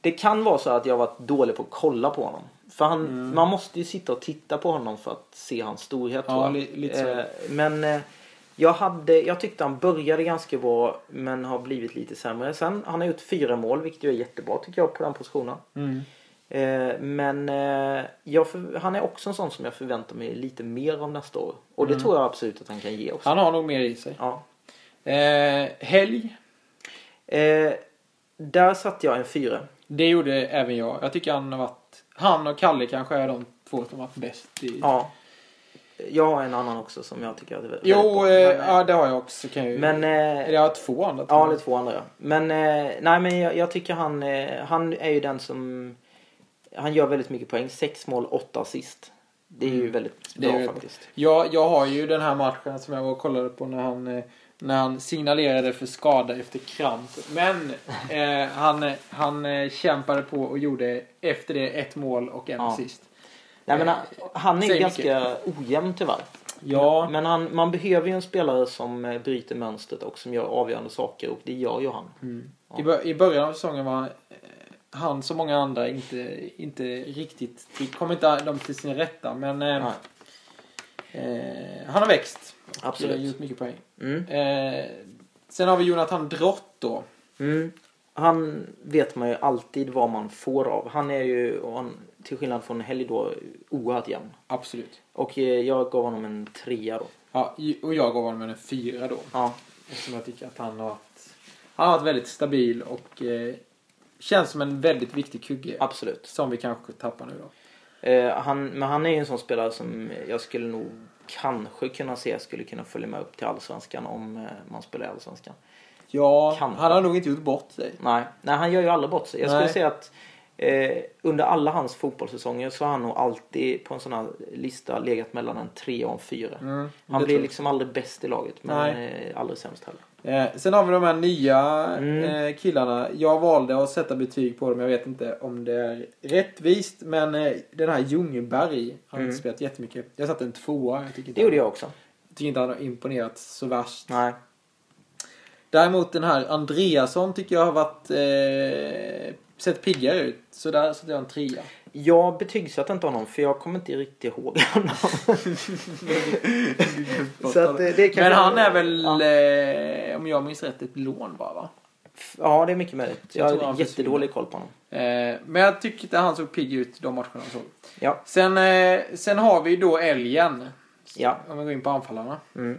S1: Det kan vara så att jag varit dålig på att kolla på honom. För han, man måste ju sitta och titta på honom för att se hans storhet.
S2: Mm. Ja,
S1: tror jag.
S2: li- lite så är det.
S1: Eh, men eh, jag, hade, jag tyckte han började ganska bra men har blivit lite sämre. Sen han har gjort fyra mål vilket ju är jättebra tycker jag på den positionen.
S2: mm.
S1: Eh, men eh, jag för, han är också en sån som jag förväntar mig lite mer av nästa år. Och
S2: Mm.
S1: det tror jag absolut att han kan ge också.
S2: Han har nog mer i sig.
S1: Ja.
S2: Eh, helg.
S1: Eh, där satte jag en fyra.
S2: Det gjorde även jag. Jag tycker han har varit... Han och Kalle kanske är de två som har varit bäst i...
S1: Ja. Jag har en annan också som jag tycker att det är väldigt
S2: Jo,
S1: bra.
S2: eh,
S1: Men, eh,
S2: ja, det har jag också. Kan jag ju...
S1: Men,
S2: Eller
S1: eh,
S2: jag har två andra.
S1: ja, eller två andra. Men, eh, nej, men jag, jag tycker han, eh, han är ju den som... Han gör väldigt mycket poäng. Sex mål, åtta assist. Det är ju väldigt
S2: Mm. Det är
S1: bra
S2: ju-
S1: faktiskt.
S2: Jag, jag har ju den här matchen som jag var och kollade på när han, eh, när han signalerade för skada efter kramp. Men eh, han, han eh, kämpade på och gjorde efter det ett mål och en
S1: Ja.
S2: assist.
S1: Nej, men, han- han är ju
S2: Säg
S1: ganska ojämn tyvärr.
S2: Ja,
S1: Men han, man behöver ju en spelare som eh, bryter mönstret och som gör avgörande saker och det gör ju han.
S2: Mm. i, bör, i början av säsongen var eh, han som många andra inte, inte riktigt... Kom inte de till sin rätta, men eh,
S1: Nej.
S2: eh, han har växt. och
S1: Absolut.
S2: Gjort mycket poäng.
S1: Mm.
S2: Eh, sen har vi Jonathan Drott då.
S1: Mm. Han vet man ju alltid vad man får av. Han är ju, och han, till skillnad från Helg då, oerhört jämn.
S2: Absolut.
S1: Och eh, jag gav honom en trea då.
S2: Ja, och jag gav honom en fyra då.
S1: Ja.
S2: Eftersom jag tycker att han har varit, han har varit väldigt stabil och eh, känns som en väldigt viktig kugge.
S1: Absolut.
S2: Som vi kanske tappar nu då.
S1: Eh, han, men han är ju en sån spelare som jag skulle nog kanske kunna se skulle kunna följa med upp till Allsvenskan om eh, man spelar i Allsvenskan.
S2: Ja,
S1: Kanske.
S2: han har nog inte gjort bort sig.
S1: Nej, nej han gör ju aldrig bort sig. Jag skulle
S2: Nej.
S1: säga att eh, under alla hans fotbollssäsonger så har han nog alltid på en sån här lista legat mellan en tre och en fyra.
S2: Mm,
S1: han
S2: det
S1: blir
S2: tror
S1: liksom aldrig bäst i laget men eh, aldrig sämst heller.
S2: Eh, sen har vi de här nya
S1: Mm.
S2: eh, killarna. Jag valde att sätta betyg på dem. Jag vet inte om det är rättvist. Men eh, den här Ljungberg, han har
S1: Mm.
S2: inte spelat jättemycket. Jag satte en tvåa. Jag tycker inte,
S1: Det gjorde jag också.
S2: jag tycker inte han har imponerat så värst.
S1: Nej.
S2: Däremot den här Andreasson tycker jag har varit, eh, sett piggare ut. Så där satte jag en trea.
S1: Jag betygsatte inte honom för jag kommer inte riktigt ihåg (laughs) honom. Så att, eh, det kanske-
S2: Men han är väl,
S1: Ja.
S2: eh, om jag minns rätt, ett lån bara va?
S1: Ja, det är mycket möjligt. Jag
S2: Jag tror han
S1: har jättedålig koll på honom.
S2: Eh, men jag tycker inte han såg pigg ut de matcherna han såg.
S1: Ja,
S2: Sen, eh, sen har vi då Älgen.
S1: ja.
S2: Om vi går in på anfallarna.
S1: Mm.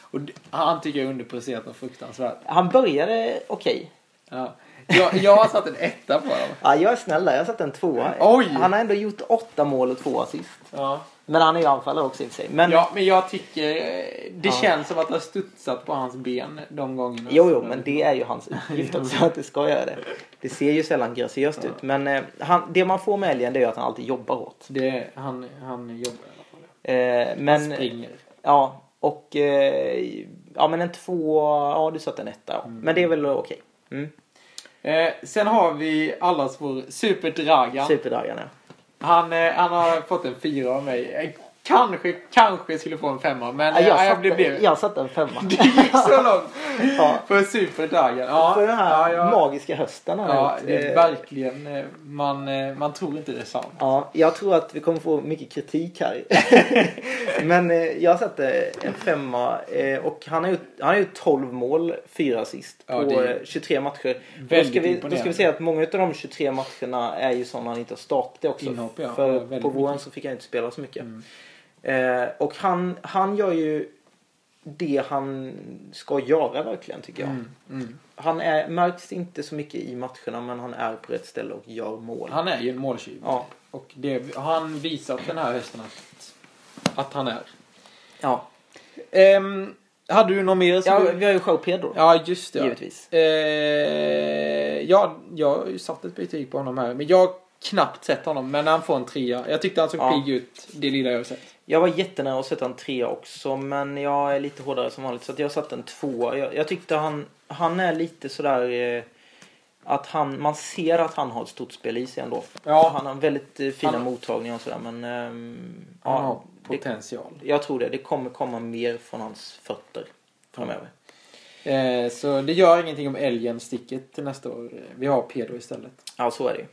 S2: Och d- han tycker jag är underpresterat och fruktansvärt.
S1: Han började okej.
S2: Ja. Jag, jag har satt en etta på honom.
S1: Ja, jag är snäll där. Jag satte en tvåa.
S2: Oj!
S1: Han har ändå gjort åtta mål och två assist.
S2: Ja.
S1: Men han är ju anfallare också i och för sig. Men,
S2: ja, men jag tycker eh, det
S1: Ja.
S2: känns som att det har studsat på hans ben de gångerna.
S1: Jo, jo, men det är ju hans uppgift också att det ska göra det. Det ser ju sällan graciöst ut. Men eh, han, det man får med älgen det är ju att han alltid jobbar hårt.
S2: det han, han jobbar i alla fall.
S1: Eh, men,
S2: Han springer.
S1: Ja, och... Eh, ja, men en två Ja, du satte en etta. Ja. Men det är väl okej. Mm.
S2: Eh, sen har vi allas vår Super Dragan.
S1: Superdagarna.
S2: Han, eh, han har fått en fyra av mig. Eh, Kanske, kanske skulle få en femma, men
S1: Ja,
S2: eh,
S1: jag,
S2: jag blev
S1: satte,
S2: blev...
S1: jag satte en femma.
S2: (laughs) Det gick så långt!
S1: (laughs) Ja.
S2: För Super Dragan. Ja,
S1: För den här
S2: ja, ja,
S1: magiska hösten han har
S2: ja,
S1: gjort.
S2: det är
S1: Eh,
S2: verkligen... eh, Man, eh, man tror inte det är sant.
S1: Ja, jag tror att vi kommer få mycket kritik
S2: (laughs)
S1: här. Men eh, jag satte en femma eh, och han har ju, han har ju 12 mål, 4 assist
S2: Ja,
S1: på
S2: det är
S1: eh, 23 matcher. Då
S2: väldigt
S1: ska, vi, då ska
S2: imponerande.
S1: vi säga att många av de 23 matcherna är ju sådana han inte har startat också.
S2: Inhopp, ja. Ja,
S1: För
S2: väldigt
S1: på våren
S2: mycket. Mm.
S1: så fick han inte spela så mycket. Eh, och han, han gör ju det han ska göra verkligen tycker jag.
S2: Mm, mm.
S1: Han är, märks inte så mycket i matcherna men han är på rätt ställe och gör mål.
S2: Han är ju en måltjuv.
S1: Ja.
S2: Och det har han visat den här hösten att, att han är.
S1: Ja.
S2: Ehm, hade du något mer? som
S1: ja,
S2: du-
S1: vi har ju Joao Pedro.
S2: Ja, just det. ja.
S1: Givetvis.
S2: Eh, ja, jag har ju satt ett betyg på honom här. Men jag har knappt sett honom. Men han får en trea. Jag tyckte han såg
S1: Ja.
S2: pigg ut, det lilla jag har sett.
S1: Jag var jättenära att sätta en trea också men jag är lite hårdare som vanligt så att jag satte en tvåa. Jag, jag tyckte han, han är lite sådär eh, att han, man ser att han har ett stort spel i sig ändå.
S2: Ja.
S1: Han har väldigt eh, fina
S2: Han-
S1: mottagningar och sådär men ehm,
S2: Han
S1: ja,
S2: har
S1: det,
S2: potential.
S1: jag tror det. Det kommer komma mer från hans fötter framöver.
S2: Eh, så det gör ingenting om älgen sticker till nästa år. Vi har Pedro istället.
S1: Ja, så är det ju.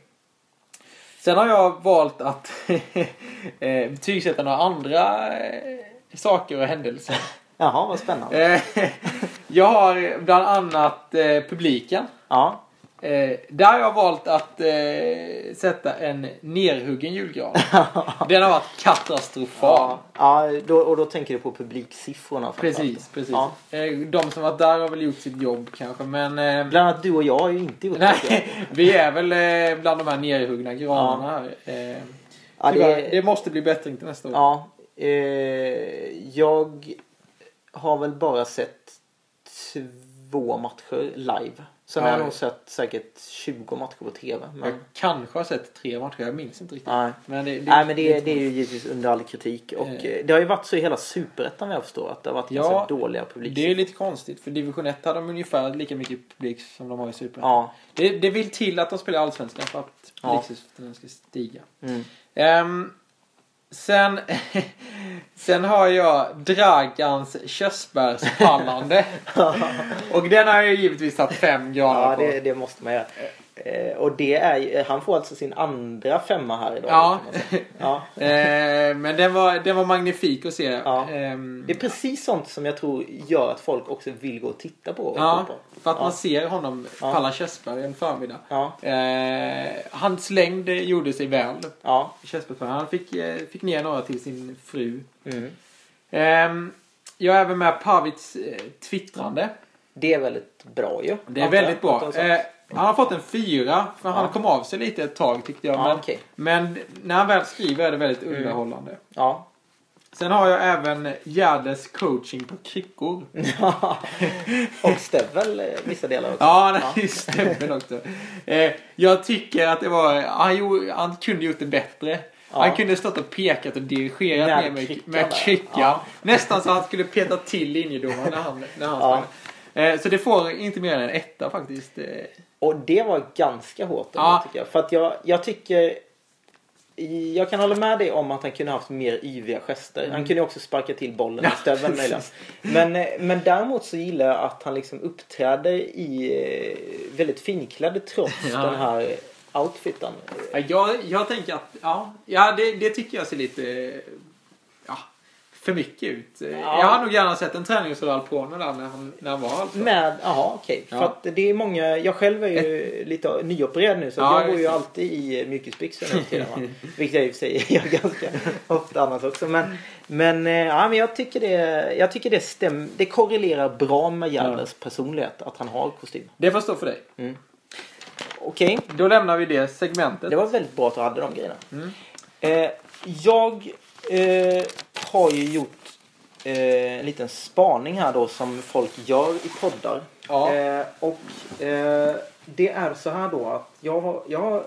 S2: Sen har jag valt att (laughs) eh, betygsätta några andra eh, saker och händelser.
S1: Jaha, vad spännande.
S2: Eh, (laughs) jag har bland annat eh, publiken.
S1: Ja,
S2: Eh, där har jag valt att eh, sätta en
S1: (laughs)
S2: nerhuggen julgran. Den har varit katastrofal.
S1: ja. ja då, och då tänker du på publiksiffrorna. framför
S2: Precis,
S1: allt.
S2: precis.
S1: Ja.
S2: Eh, de som varit där har väl gjort sitt jobb kanske, men... Eh,
S1: Bland annat du och jag har ju inte gjort det.
S2: nej, (laughs) vi är väl eh, bland de här nerhuggna granarna. här. Eh,
S1: Ja, det-
S2: tyvärr, det... måste bli bättring till nästa år.
S1: Ja, eh, jag har väl bara sett två matcher live. Sen
S2: Ja,
S1: har jag
S2: ja.
S1: nog sett säkert 20 matcher på TV. Men,
S2: Jag kanske har sett tre matcher, jag minns inte riktigt.
S1: Nej.
S2: Men det, det,
S1: Nej, men det, det är ju givetvis under all kritik. Och
S2: Eh.
S1: eh, det har ju varit så i hela superettan vad jag förstår. Att det har varit
S2: Ja,
S1: ganska dåliga publik.
S2: det är lite konstigt, för division 1 hade de ungefär lika mycket publik som de har i Superettan.
S1: Ja.
S2: Det, det vill till att de spelar i allsvenskan för att
S1: Ja.
S2: publiksiffrorna ska stiga.
S1: Mm.
S2: Ehm, sen, (laughs) sen har jag Dragans
S1: (laughs)
S2: körsbärspallande. och den har jag givetvis tagit fem grader
S1: Ja,
S2: på.
S1: det, det måste man göra. Eh, och det är ju, han får alltså sin andra femma här idag.
S2: Ja.
S1: kan man säga. ja.
S2: Ehm, men den var, den var magnifik att se.
S1: Ja.
S2: Ehm,
S1: Det är precis sånt som jag tror gör att folk också vill gå och titta på
S2: ja,
S1: fotboll.
S2: för att
S1: Ja.
S2: man ser honom
S1: Ja.
S2: palla körsbär en förmiddag.
S1: Ja.
S2: Ehm, hans längd gjorde sig väl.
S1: Ja.
S2: Körsbärspallande. Han fick, eh, fick ner några till sin fru.
S1: Mm.
S2: Ehm, jag är även med Pavits eh, twittrande.
S1: Det är väldigt bra ju.
S2: Det är
S1: Antar jag,
S2: väldigt
S1: att
S2: bra.
S1: de sa.
S2: Eh, han har fått en fyra, för han
S1: Ja.
S2: kom av sig lite ett tag tyckte jag.
S1: Ja,
S2: men,
S1: okej. Mm.
S2: men när han väl skriver är det väldigt underhållande.
S1: Ja. (laughs)
S2: Sen har jag även Gärdes coaching på kryckor.
S1: och Stevel eh, vissa delar också.
S2: Ja, det stämmer också. Eh, jag tycker att det var... Han, gjorde, han kunde gjort det bättre.
S1: Ja.
S2: Han kunde stått och pekat och dirigerat
S1: Med
S2: ner med,
S1: kryckan
S2: med
S1: där.
S2: kryckan.
S1: Ja.
S2: Nästan så att han skulle peta till linjedomaren när han, när han
S1: Ja.
S2: sprang. Eh, Så det får inte mer än en etta faktiskt. Eh,
S1: Och det var ganska hårt ändå,
S2: Ja.
S1: tycker jag. För att jag, jag tycker... Jag kan hålla med dig om att han kunde haft mer yviga gester. Han kunde ju också sparka till bollen i
S2: Mm. Ja,
S1: stöveln möjligen. Men, eh, men däremot så gillar jag att han liksom uppträder i eh, väldigt finklädd trots
S2: Ja.
S1: den här outfiten.
S2: Ja, Jag, jag tänker att, ja, ja det, det tycker jag ser lite eh, ja, för mycket ut. Eh,
S1: Ja.
S2: Jag har nog gärna sett en träningsoverall på honom där när han, när han var alltså.
S1: Med, jaha okej.
S2: Ja.
S1: För att det är många, jag själv är
S2: (laughs)
S1: ju lite nyopererad nu så
S2: Ja,
S1: jag går ju
S2: just det.
S1: alltid i eh, mjukisbyxor nu för tiden,
S2: (laughs)
S1: va? Vilket jag i och för sig (laughs) gör ganska ofta annars också. Men, men, eh, ja, men jag tycker, det, jag tycker det, stäm, det korrelerar bra med Jarlers personlighet att han har kostym.
S2: Det får stå för dig.
S1: Okej,
S2: Då lämnar vi det segmentet.
S1: det var väldigt bra att du hade de grejerna. Eh, jag eh, har ju gjort eh, en liten spaning här då som folk gör i poddar.
S2: Ja.
S1: Eh, och eh, det är så här då att jag har, jag har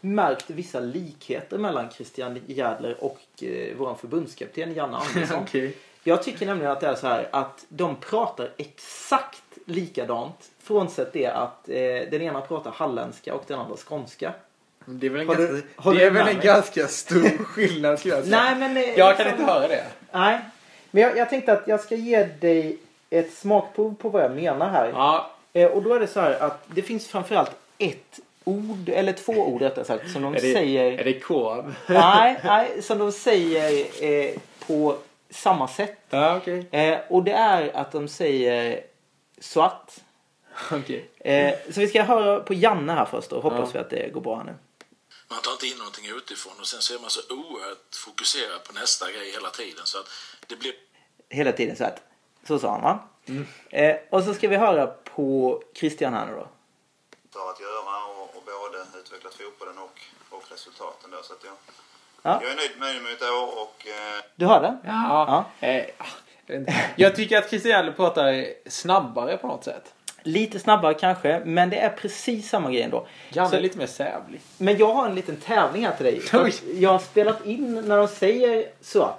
S1: märkt vissa likheter mellan Christian Järdler och eh, vår förbundskapten Janne Andersson.
S2: (laughs) Okej.
S1: Jag tycker nämligen att det är så här att de pratar exakt likadant. Frånsett det att eh, den ena pratar halländska och den andra skånska.
S3: Det är väl en,
S1: Har du-
S3: ganska,
S1: har
S3: det
S1: du
S3: är väl
S1: med
S3: en
S1: mig?
S3: ganska stor skillnad skulle jag säga.
S1: Nej, men, eh,
S2: Jag kan
S1: liksom-
S2: inte höra det.
S1: Nej, men jag, jag tänkte att jag ska ge dig ett smakprov på vad jag menar här.
S2: Ja,
S1: Eh, och då är det så här att det finns framförallt ett ord, eller två ord rättare sagt, som de
S2: är det, är
S1: säger...
S2: det korv?
S1: Nej, nej, som de säger eh, på samma sätt.
S2: Ja, okej.
S1: Eh, och det är att de säger svart.
S2: Okej.
S1: Eh, så vi ska höra på Janne här först och hoppas vi att det går bra här nu.
S4: Man tar inte in någonting utifrån och sen så är man så oerhört fokuserad på nästa grej hela tiden så att det blir
S1: Hela tiden så att, så sa han va?
S2: Mm.
S1: Eh, och så ska vi höra på Christian här nu då.
S5: för att göra och, och både utvecklat fotbollen och, och resultaten. Då, så att jag,
S1: Ja.
S5: jag är nöjd med mitt år och eh,
S1: Du hörde?
S2: Ja. Eh, ah, jag vet inte. Jag tycker att Christian Järdler pratar snabbare på något sätt.
S1: Lite snabbare kanske, men det är precis samma grej ändå.
S2: Janne
S1: Så-
S2: är lite mer (laughs) sävlig.
S1: Men jag har en liten tävling här till (laughs) dig. För att Jag har spelat in när de säger så.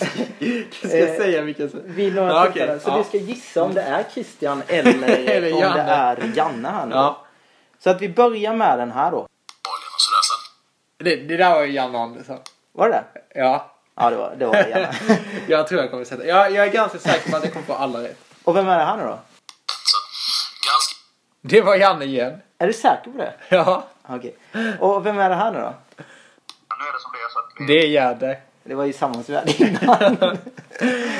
S2: Ska
S1: Eh,
S2: säga vilken som...
S1: Vid några
S2: Ja,
S1: tillfällen.
S2: okej.
S1: Så
S2: Ja.
S1: du ska gissa om det är Christian (laughs) eller,
S2: Eller
S1: om det
S2: Janne.
S1: är Janne här nu.
S2: Ja.
S1: Så att vi börjar med den här då.
S4: Italien och sådär. Så att
S2: Det, det där var ju Janne Andersson.
S1: Var det det?
S2: Ja.
S1: Ja, det var det. Var det Janne. (laughs)
S2: (laughs) Jag tror jag kommer sätta... Jag, jag är ganska säker på att jag kommer få alla rätt.
S1: Och vem är det här nu då?
S4: så att ganska
S2: Det var Janne igen.
S1: Är du säker på det?
S2: Ja.
S1: Okej. Och vem är det här nu då?
S5: nu är det som det är. Så att vi,
S2: Det är Järdler.
S1: Det var ju samma som vi hade (laughs) innan.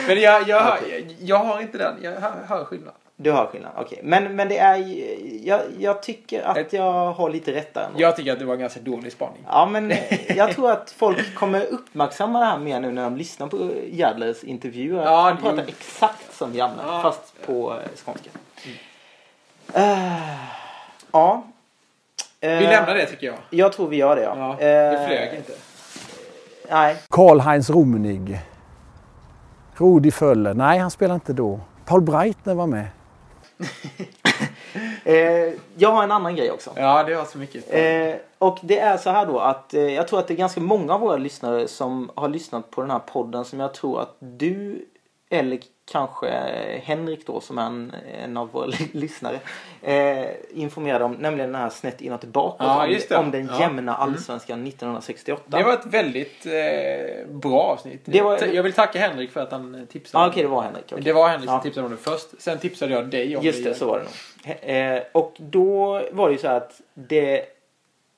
S2: Men jag, jag, hör, jag, jag har inte den. Jag hör, hör skillnad.
S1: Du har skillnad, okej. Men, men det är ju- jag, jag tycker att jag har lite rätt där ändå.
S2: Jag tycker att det var en ganska dålig spaning.
S1: Ja, men jag tror att folk kommer uppmärksamma det här mer nu när de lyssnar på Järdlers intervjuer.
S2: Ja,
S1: Han pratar
S2: jo.
S1: exakt som Janne,
S2: Ja. Mm.
S1: fast på eh, skånska. Eh, ja. Eh,
S2: Vi lämnar det tycker jag.
S1: Jag tror vi gör det, ja.
S2: Ja, det
S1: Eh,
S2: flög inte.
S1: Nej.
S6: Karl-Heinz Rummenig. Rudi Föller. Nej, han spelade inte då. Paul Breitner var med.
S1: Eh, jag har en annan grej också.
S2: Ja, det var så mycket.
S1: Eh, och det är så här då att eh, jag tror att det är ganska många av våra lyssnare som har lyssnat på den här podden som jag tror att du eller kanske Henrik då som är en, en av våra (laughs) lyssnare eh, informerade om, nämligen den här snett inåt bakåt
S2: Ja,
S1: om,
S2: just det.
S1: om den
S2: Ja. Mm.
S1: jämna allsvenskan 1968.
S2: Det var ett väldigt eh, bra avsnitt.
S1: Det var-
S2: Jag vill tacka Henrik för att han eh, tipsade.
S1: ah, okej, det var Henrik. okej.
S2: Det var Henrik som
S1: Ja.
S2: tipsade om det först. Sen tipsade jag dig om
S1: Just
S2: det.
S1: det, så var det nog. He- Eh, och då var det ju så här att det,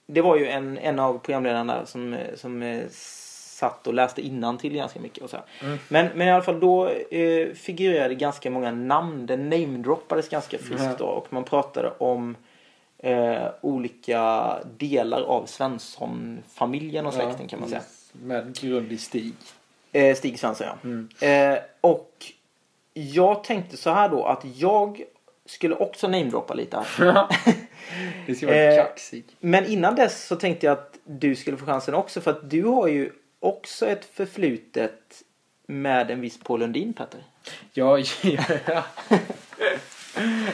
S1: det var ju en, en av programledarna där som, eh, som eh, satt och läste innan till ganska mycket. Och så här.
S2: Mm.
S1: Men, men i alla fall då eh, figurerade ganska många namn. Det namedroppades ganska friskt
S2: Mm.
S1: då och man pratade om eh, olika delar av Svensson-familjen och släkten kan man säga.
S2: Med grund
S1: (laughs)
S2: i Stig.
S1: Eh, Stig Svensson, ja. Eh, och jag tänkte så här då att jag skulle också namedroppa lite
S2: (laughs)
S1: här.
S2: Det ska vara
S1: Eh,
S2: kaxig.
S1: Men innan dess så tänkte jag att du skulle få chansen också för att du har ju också ett förflutet med en viss Paul Lundin, Petter.
S2: Ja, ja.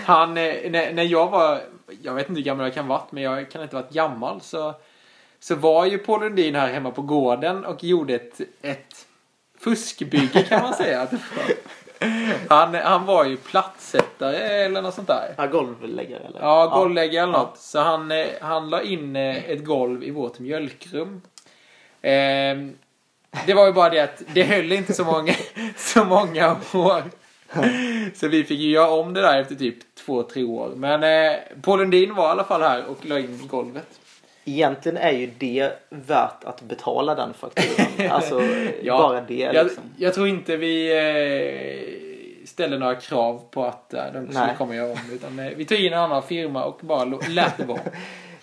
S2: Han, eh, när, när jag var, jag vet inte hur gammal jag kan varit, men jag kan inte varit gammal så, så var ju Paul Lundin här hemma på gården och gjorde ett, ett fuskbygge kan man säga. att det var. Han, han var ju plattsättare eller något sånt där.
S1: Ja, golvläggare eller?
S2: Ja, golvläggare eller något. Så han, eh, han la in eh, ett golv i vårt mjölkrum. Ehm, det var ju bara det att det höll inte så många, (laughs) så många år. Så vi fick ju göra om det där efter typ två, tre år. Men eh, Paul Lundin var i alla fall här och la in golvet.
S1: Egentligen är ju det värt att betala den fakturan. Alltså
S2: Ja.
S1: bara det
S2: jag,
S1: liksom.
S2: jag tror inte vi eh, ställer några krav på att eh, de skulle
S1: Nej.
S2: komma och göra om. Utan, eh, vi tar in en annan firma och bara lo- lät
S1: (laughs)
S2: det vara.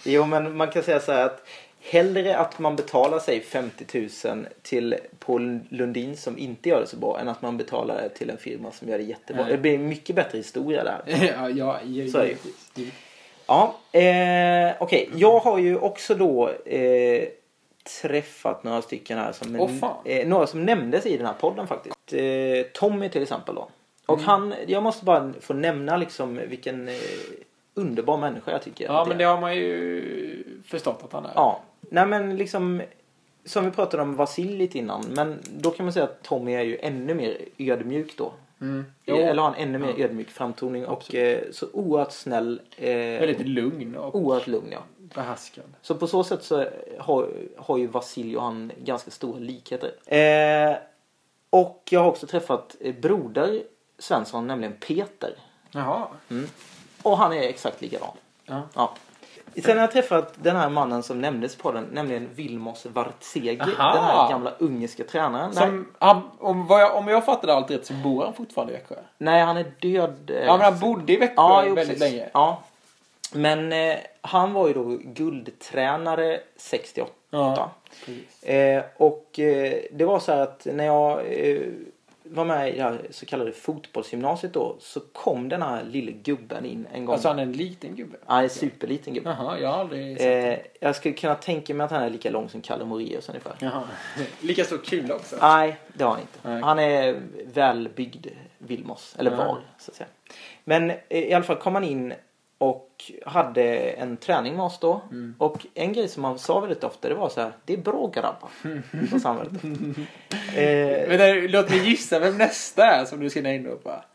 S1: Jo men man kan säga så här att hellre att man betalar sig 50 000 till Paul Lundin som inte gör det så bra än att man betalar det till en firma som gör det jättebra.
S2: Nej.
S1: Det blir en mycket bättre historia där.
S2: ja, ja, ju-
S1: Så är det.
S2: givetvis. Det-
S1: Ja, eh, okej.
S2: Mm.
S1: Jag har ju också då eh, träffat några stycken här. Som,
S2: Åh, fan.
S1: eh, några som nämndes i den här podden faktiskt. Eh, Tommy till exempel då. Och
S2: Mm.
S1: han, jag måste bara få nämna liksom vilken eh, underbar människa jag tycker.
S2: ja,
S1: att
S2: men det har man ju förstått att han är.
S1: Ja, nej men liksom som vi pratade om Vasil lite innan. Men då kan man säga att Tommy är ju ännu mer ödmjuk då.
S2: Mm. Jo,
S1: Eller har en ännu mer ödmjuk framtoning och eh, så oerhört snäll. Eh,
S2: väldigt lugn och
S1: oerhört lugn ja.
S2: behärskad.
S1: Så på så sätt så har, har ju Vasilj och han ganska stora likheter. Eh, och jag har också träffat eh, broder Svensson, nämligen Peter.
S2: Jaha.
S1: Mm. Och han är exakt likadan.
S2: Ja.
S1: Ja. Sen har jag träffat den här mannen som nämndes på den, nämligen Vilmos Vartsegi.
S2: Aha!
S1: Den här gamla ungerska tränaren. Nej,
S2: Som, han, om, vad jag, om jag fattade allt rätt så bor han fortfarande i Växjö.
S1: nej, han är död. eh,
S2: Ja, men han bodde i Växjö
S1: Ja, jo,
S2: väldigt
S1: precis.
S2: länge.
S1: Ja. Men eh, han var ju då guldtränare 68.
S2: Ja,
S1: eh, och eh, det var så här att när jag eh, var med i det här så kallade fotbollsgymnasiet då så kom den här lille gubben in en gång.
S2: Alltså han är en liten gubbe.
S1: han är en superliten gubbe.
S2: Jaha, jag har aldrig sett.
S1: Eh, jag skulle kunna tänka mig att han är lika lång som Kalle Moraeus ungefär.
S2: Jaha. (laughs) Lika stor kula också.
S1: Nej, det har han inte.
S2: Nej.
S1: Han är välbyggd Vilmos, eller
S2: Ja.
S1: var så att säga. Men eh, i alla fall kom han in och hade en träning med oss då.
S2: Mm.
S1: Och en grej som han sa väldigt ofta det var så här, det är bra
S2: (laughs)
S1: grabbar. Så sa han väldigt ofta. Eh,
S2: Men där, låt mig gissa vem nästa är som du ska inropa.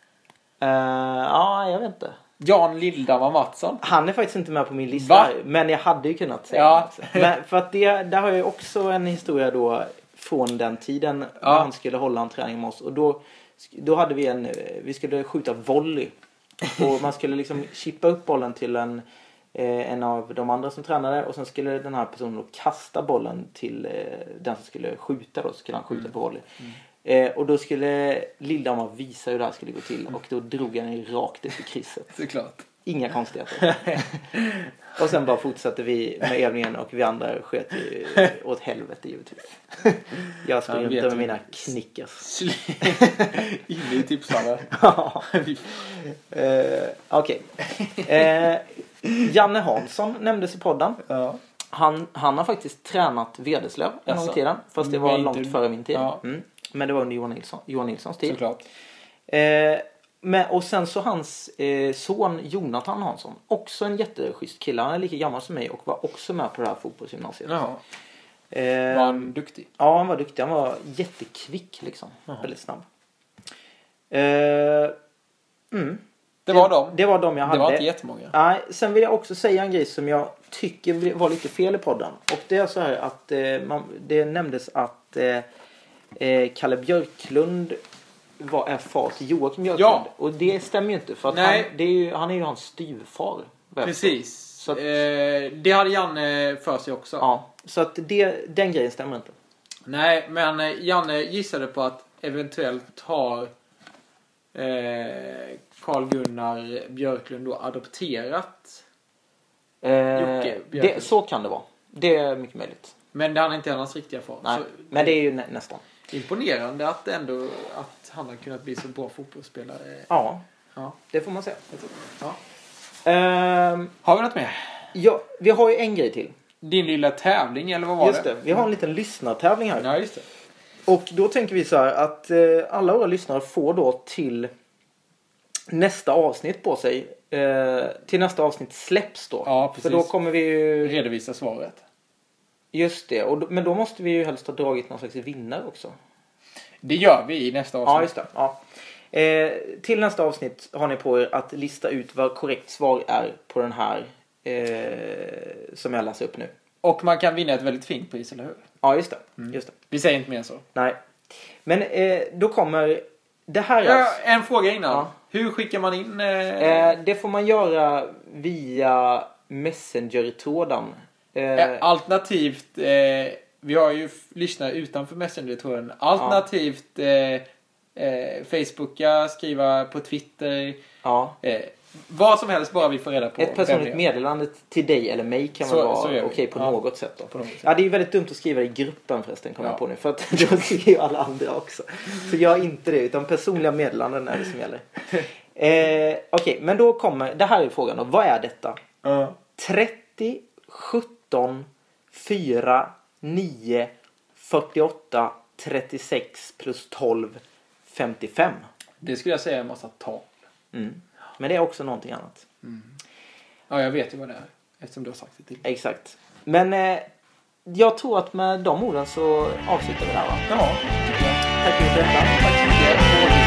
S1: eh, ja, jag vet inte.
S2: Jan Lildhammar Mattsson.
S1: Han är faktiskt inte med på min lista.
S2: Va?
S1: Men jag hade ju kunnat säga
S2: Ja.
S1: det också. Men för att det, där har jag ju också en historia då från den tiden när
S2: Ja.
S1: han skulle hålla en träning med oss. Och då, då hade vi en, eh, vi skulle skjuta volley. Och man skulle liksom chippa upp bollen till en, eh, en av de andra som tränade. Och sen skulle den här personen då kasta bollen till eh, den som skulle skjuta då. Så skulle han skjuta
S2: Mm.
S1: på volley. Eh, och då skulle Lillhammar visa hur det här skulle gå
S2: Mm.
S1: till. Och då drog han ju rakt upp i krysset.
S2: Såklart.
S1: Inga konstigheter.
S2: (laughs)
S1: och sen bara fortsatte vi med övningen och vi andra sköt ju åt helvete
S2: (laughs)
S1: givetvis. Jag sprang
S2: Ja,
S1: runt
S2: vet
S1: med
S2: du.
S1: mina
S2: (laughs)
S1: knickers.
S2: Inne i tipsarna.
S1: Ja. (laughs) Eh, Okej. Eh, Janne Hansson nämndes i podden.
S2: ja.
S1: Han, han har faktiskt tränat Vederslöv en gång i
S2: Jaså?
S1: tiden. Fast det var
S2: Men inte-
S1: långt före min tid.
S2: Ja.
S1: Mm. Men det var under Johan, Nilsson, Johan Nilssons tid.
S2: Såklart.
S1: Eh, men, och sen så hans eh, son Jonathan Hansson. Också en jätteschysst kille. Han är lika gammal som mig och var också med på det här fotbollsgymnasiet.
S2: Jaha.
S1: Eh,
S2: Var han duktig?
S1: Ja, han var duktig. Han var jättekvick liksom. Väldigt snabb. Eh, mm.
S2: Det var dem.
S1: Det var de jag
S2: Det
S1: hade.
S2: var inte jättemånga.
S1: Nej, sen vill jag också säga en grej som jag tycker bli- var lite fel i podden. Och det är så här att eh, man, det nämndes att eh, eh, Kalle Björklund var, är far till Joakim Björklund.
S2: Ja.
S1: Och det stämmer ju inte för att
S2: Nej.
S1: han, det är ju, han är ju hans styvfar. vad jag
S2: (laughs) Precis.
S1: Så att-
S2: Eh, det hade Janne för sig också.
S1: förstår. Ja, så att det, den grejen stämmer inte.
S2: Nej, men eh, Janne gissade på att eventuellt har eh, Carl Gunnar Björklund då adopterat. Jocke
S1: Eh,
S2: Björklund.
S1: det, så kan det vara. Det är mycket möjligt.
S2: Men det han är inte hans riktiga far.
S1: Nej,
S2: Så
S1: men det är ju nä, nästan.
S2: Imponerande att ändå att han har kunnat bli så bra fotbollsspelare.
S1: Ja,
S2: Ja.
S1: det får man säga.
S2: Ja.
S1: Ehm,
S2: Har vi något mer?
S1: ja, vi har ju en grej till.
S2: Din lilla tävling eller vad var
S1: Just det, vi har en liten lyssnartävling här.
S2: Ja, just det.
S1: Och då tänker vi så här att eh, alla våra lyssnare får då till nästa avsnitt på sig. Eh, till nästa avsnitt släpps då.
S2: Ja, precis.
S1: För då kommer vi ju...
S2: Redovisa svaret.
S1: Just det. Och, då- men då måste vi ju helst ha dragit någon slags vinnare också.
S2: Det gör vi i nästa
S1: Ja,
S2: avsnitt.
S1: just det. Ja. Eh, till nästa avsnitt har ni på er att lista ut vad korrekt svar är på den här eh, som jag läser upp nu.
S2: och man kan vinna ett väldigt fint pris, eller hur?
S1: Ja, just det.
S2: Mm.
S1: Just det.
S2: Vi säger inte mer än så.
S1: Nej. Men eh, då kommer... Det här är alltså...
S2: Ja, en fråga innan.
S1: Ja.
S2: Hur skickar man in... Eh...
S1: Eh, det får man göra via Messenger-tråden. Eh,
S2: Eh, Alternativt, eh, vi har ju f- lyssnare utanför Messenger-tråden. Alternativt eh, eh, Facebooka, skriva på Twitter.
S1: ja.
S2: Eh, vad som helst bara vi får reda på.
S1: Ett
S2: vem
S1: personligt
S2: det är.
S1: meddelande till dig eller mig kan
S2: Så-
S1: väl
S2: så gör
S1: vara
S2: vi.
S1: okej på
S2: Ja.
S1: något sätt då.
S2: På något sätt.
S1: Ja, det är ju väldigt dumt att skriva i gruppen förresten, kommer
S2: Ja.
S1: jag på nu. För att (laughs) då skriver ju alla andra också. Så gör inte det, utan personliga meddelanden är det som
S2: (laughs)
S1: gäller. Eh, okej, men då kommer, det här är frågan då. Vad är detta?
S2: Ja.
S1: 30, 17, 4, 9, 48, 36 plus 12, 55.
S2: Det skulle jag säga är en massa tal.
S1: Mm. Men det är också någonting annat.
S2: Ja, jag vet ju vad det är. Eftersom du har sagt det till.
S1: Exakt. Men eh, jag tror att med de orden så avslutar vi där va?
S2: Ja.
S1: Tack för detta. Tack så mycket.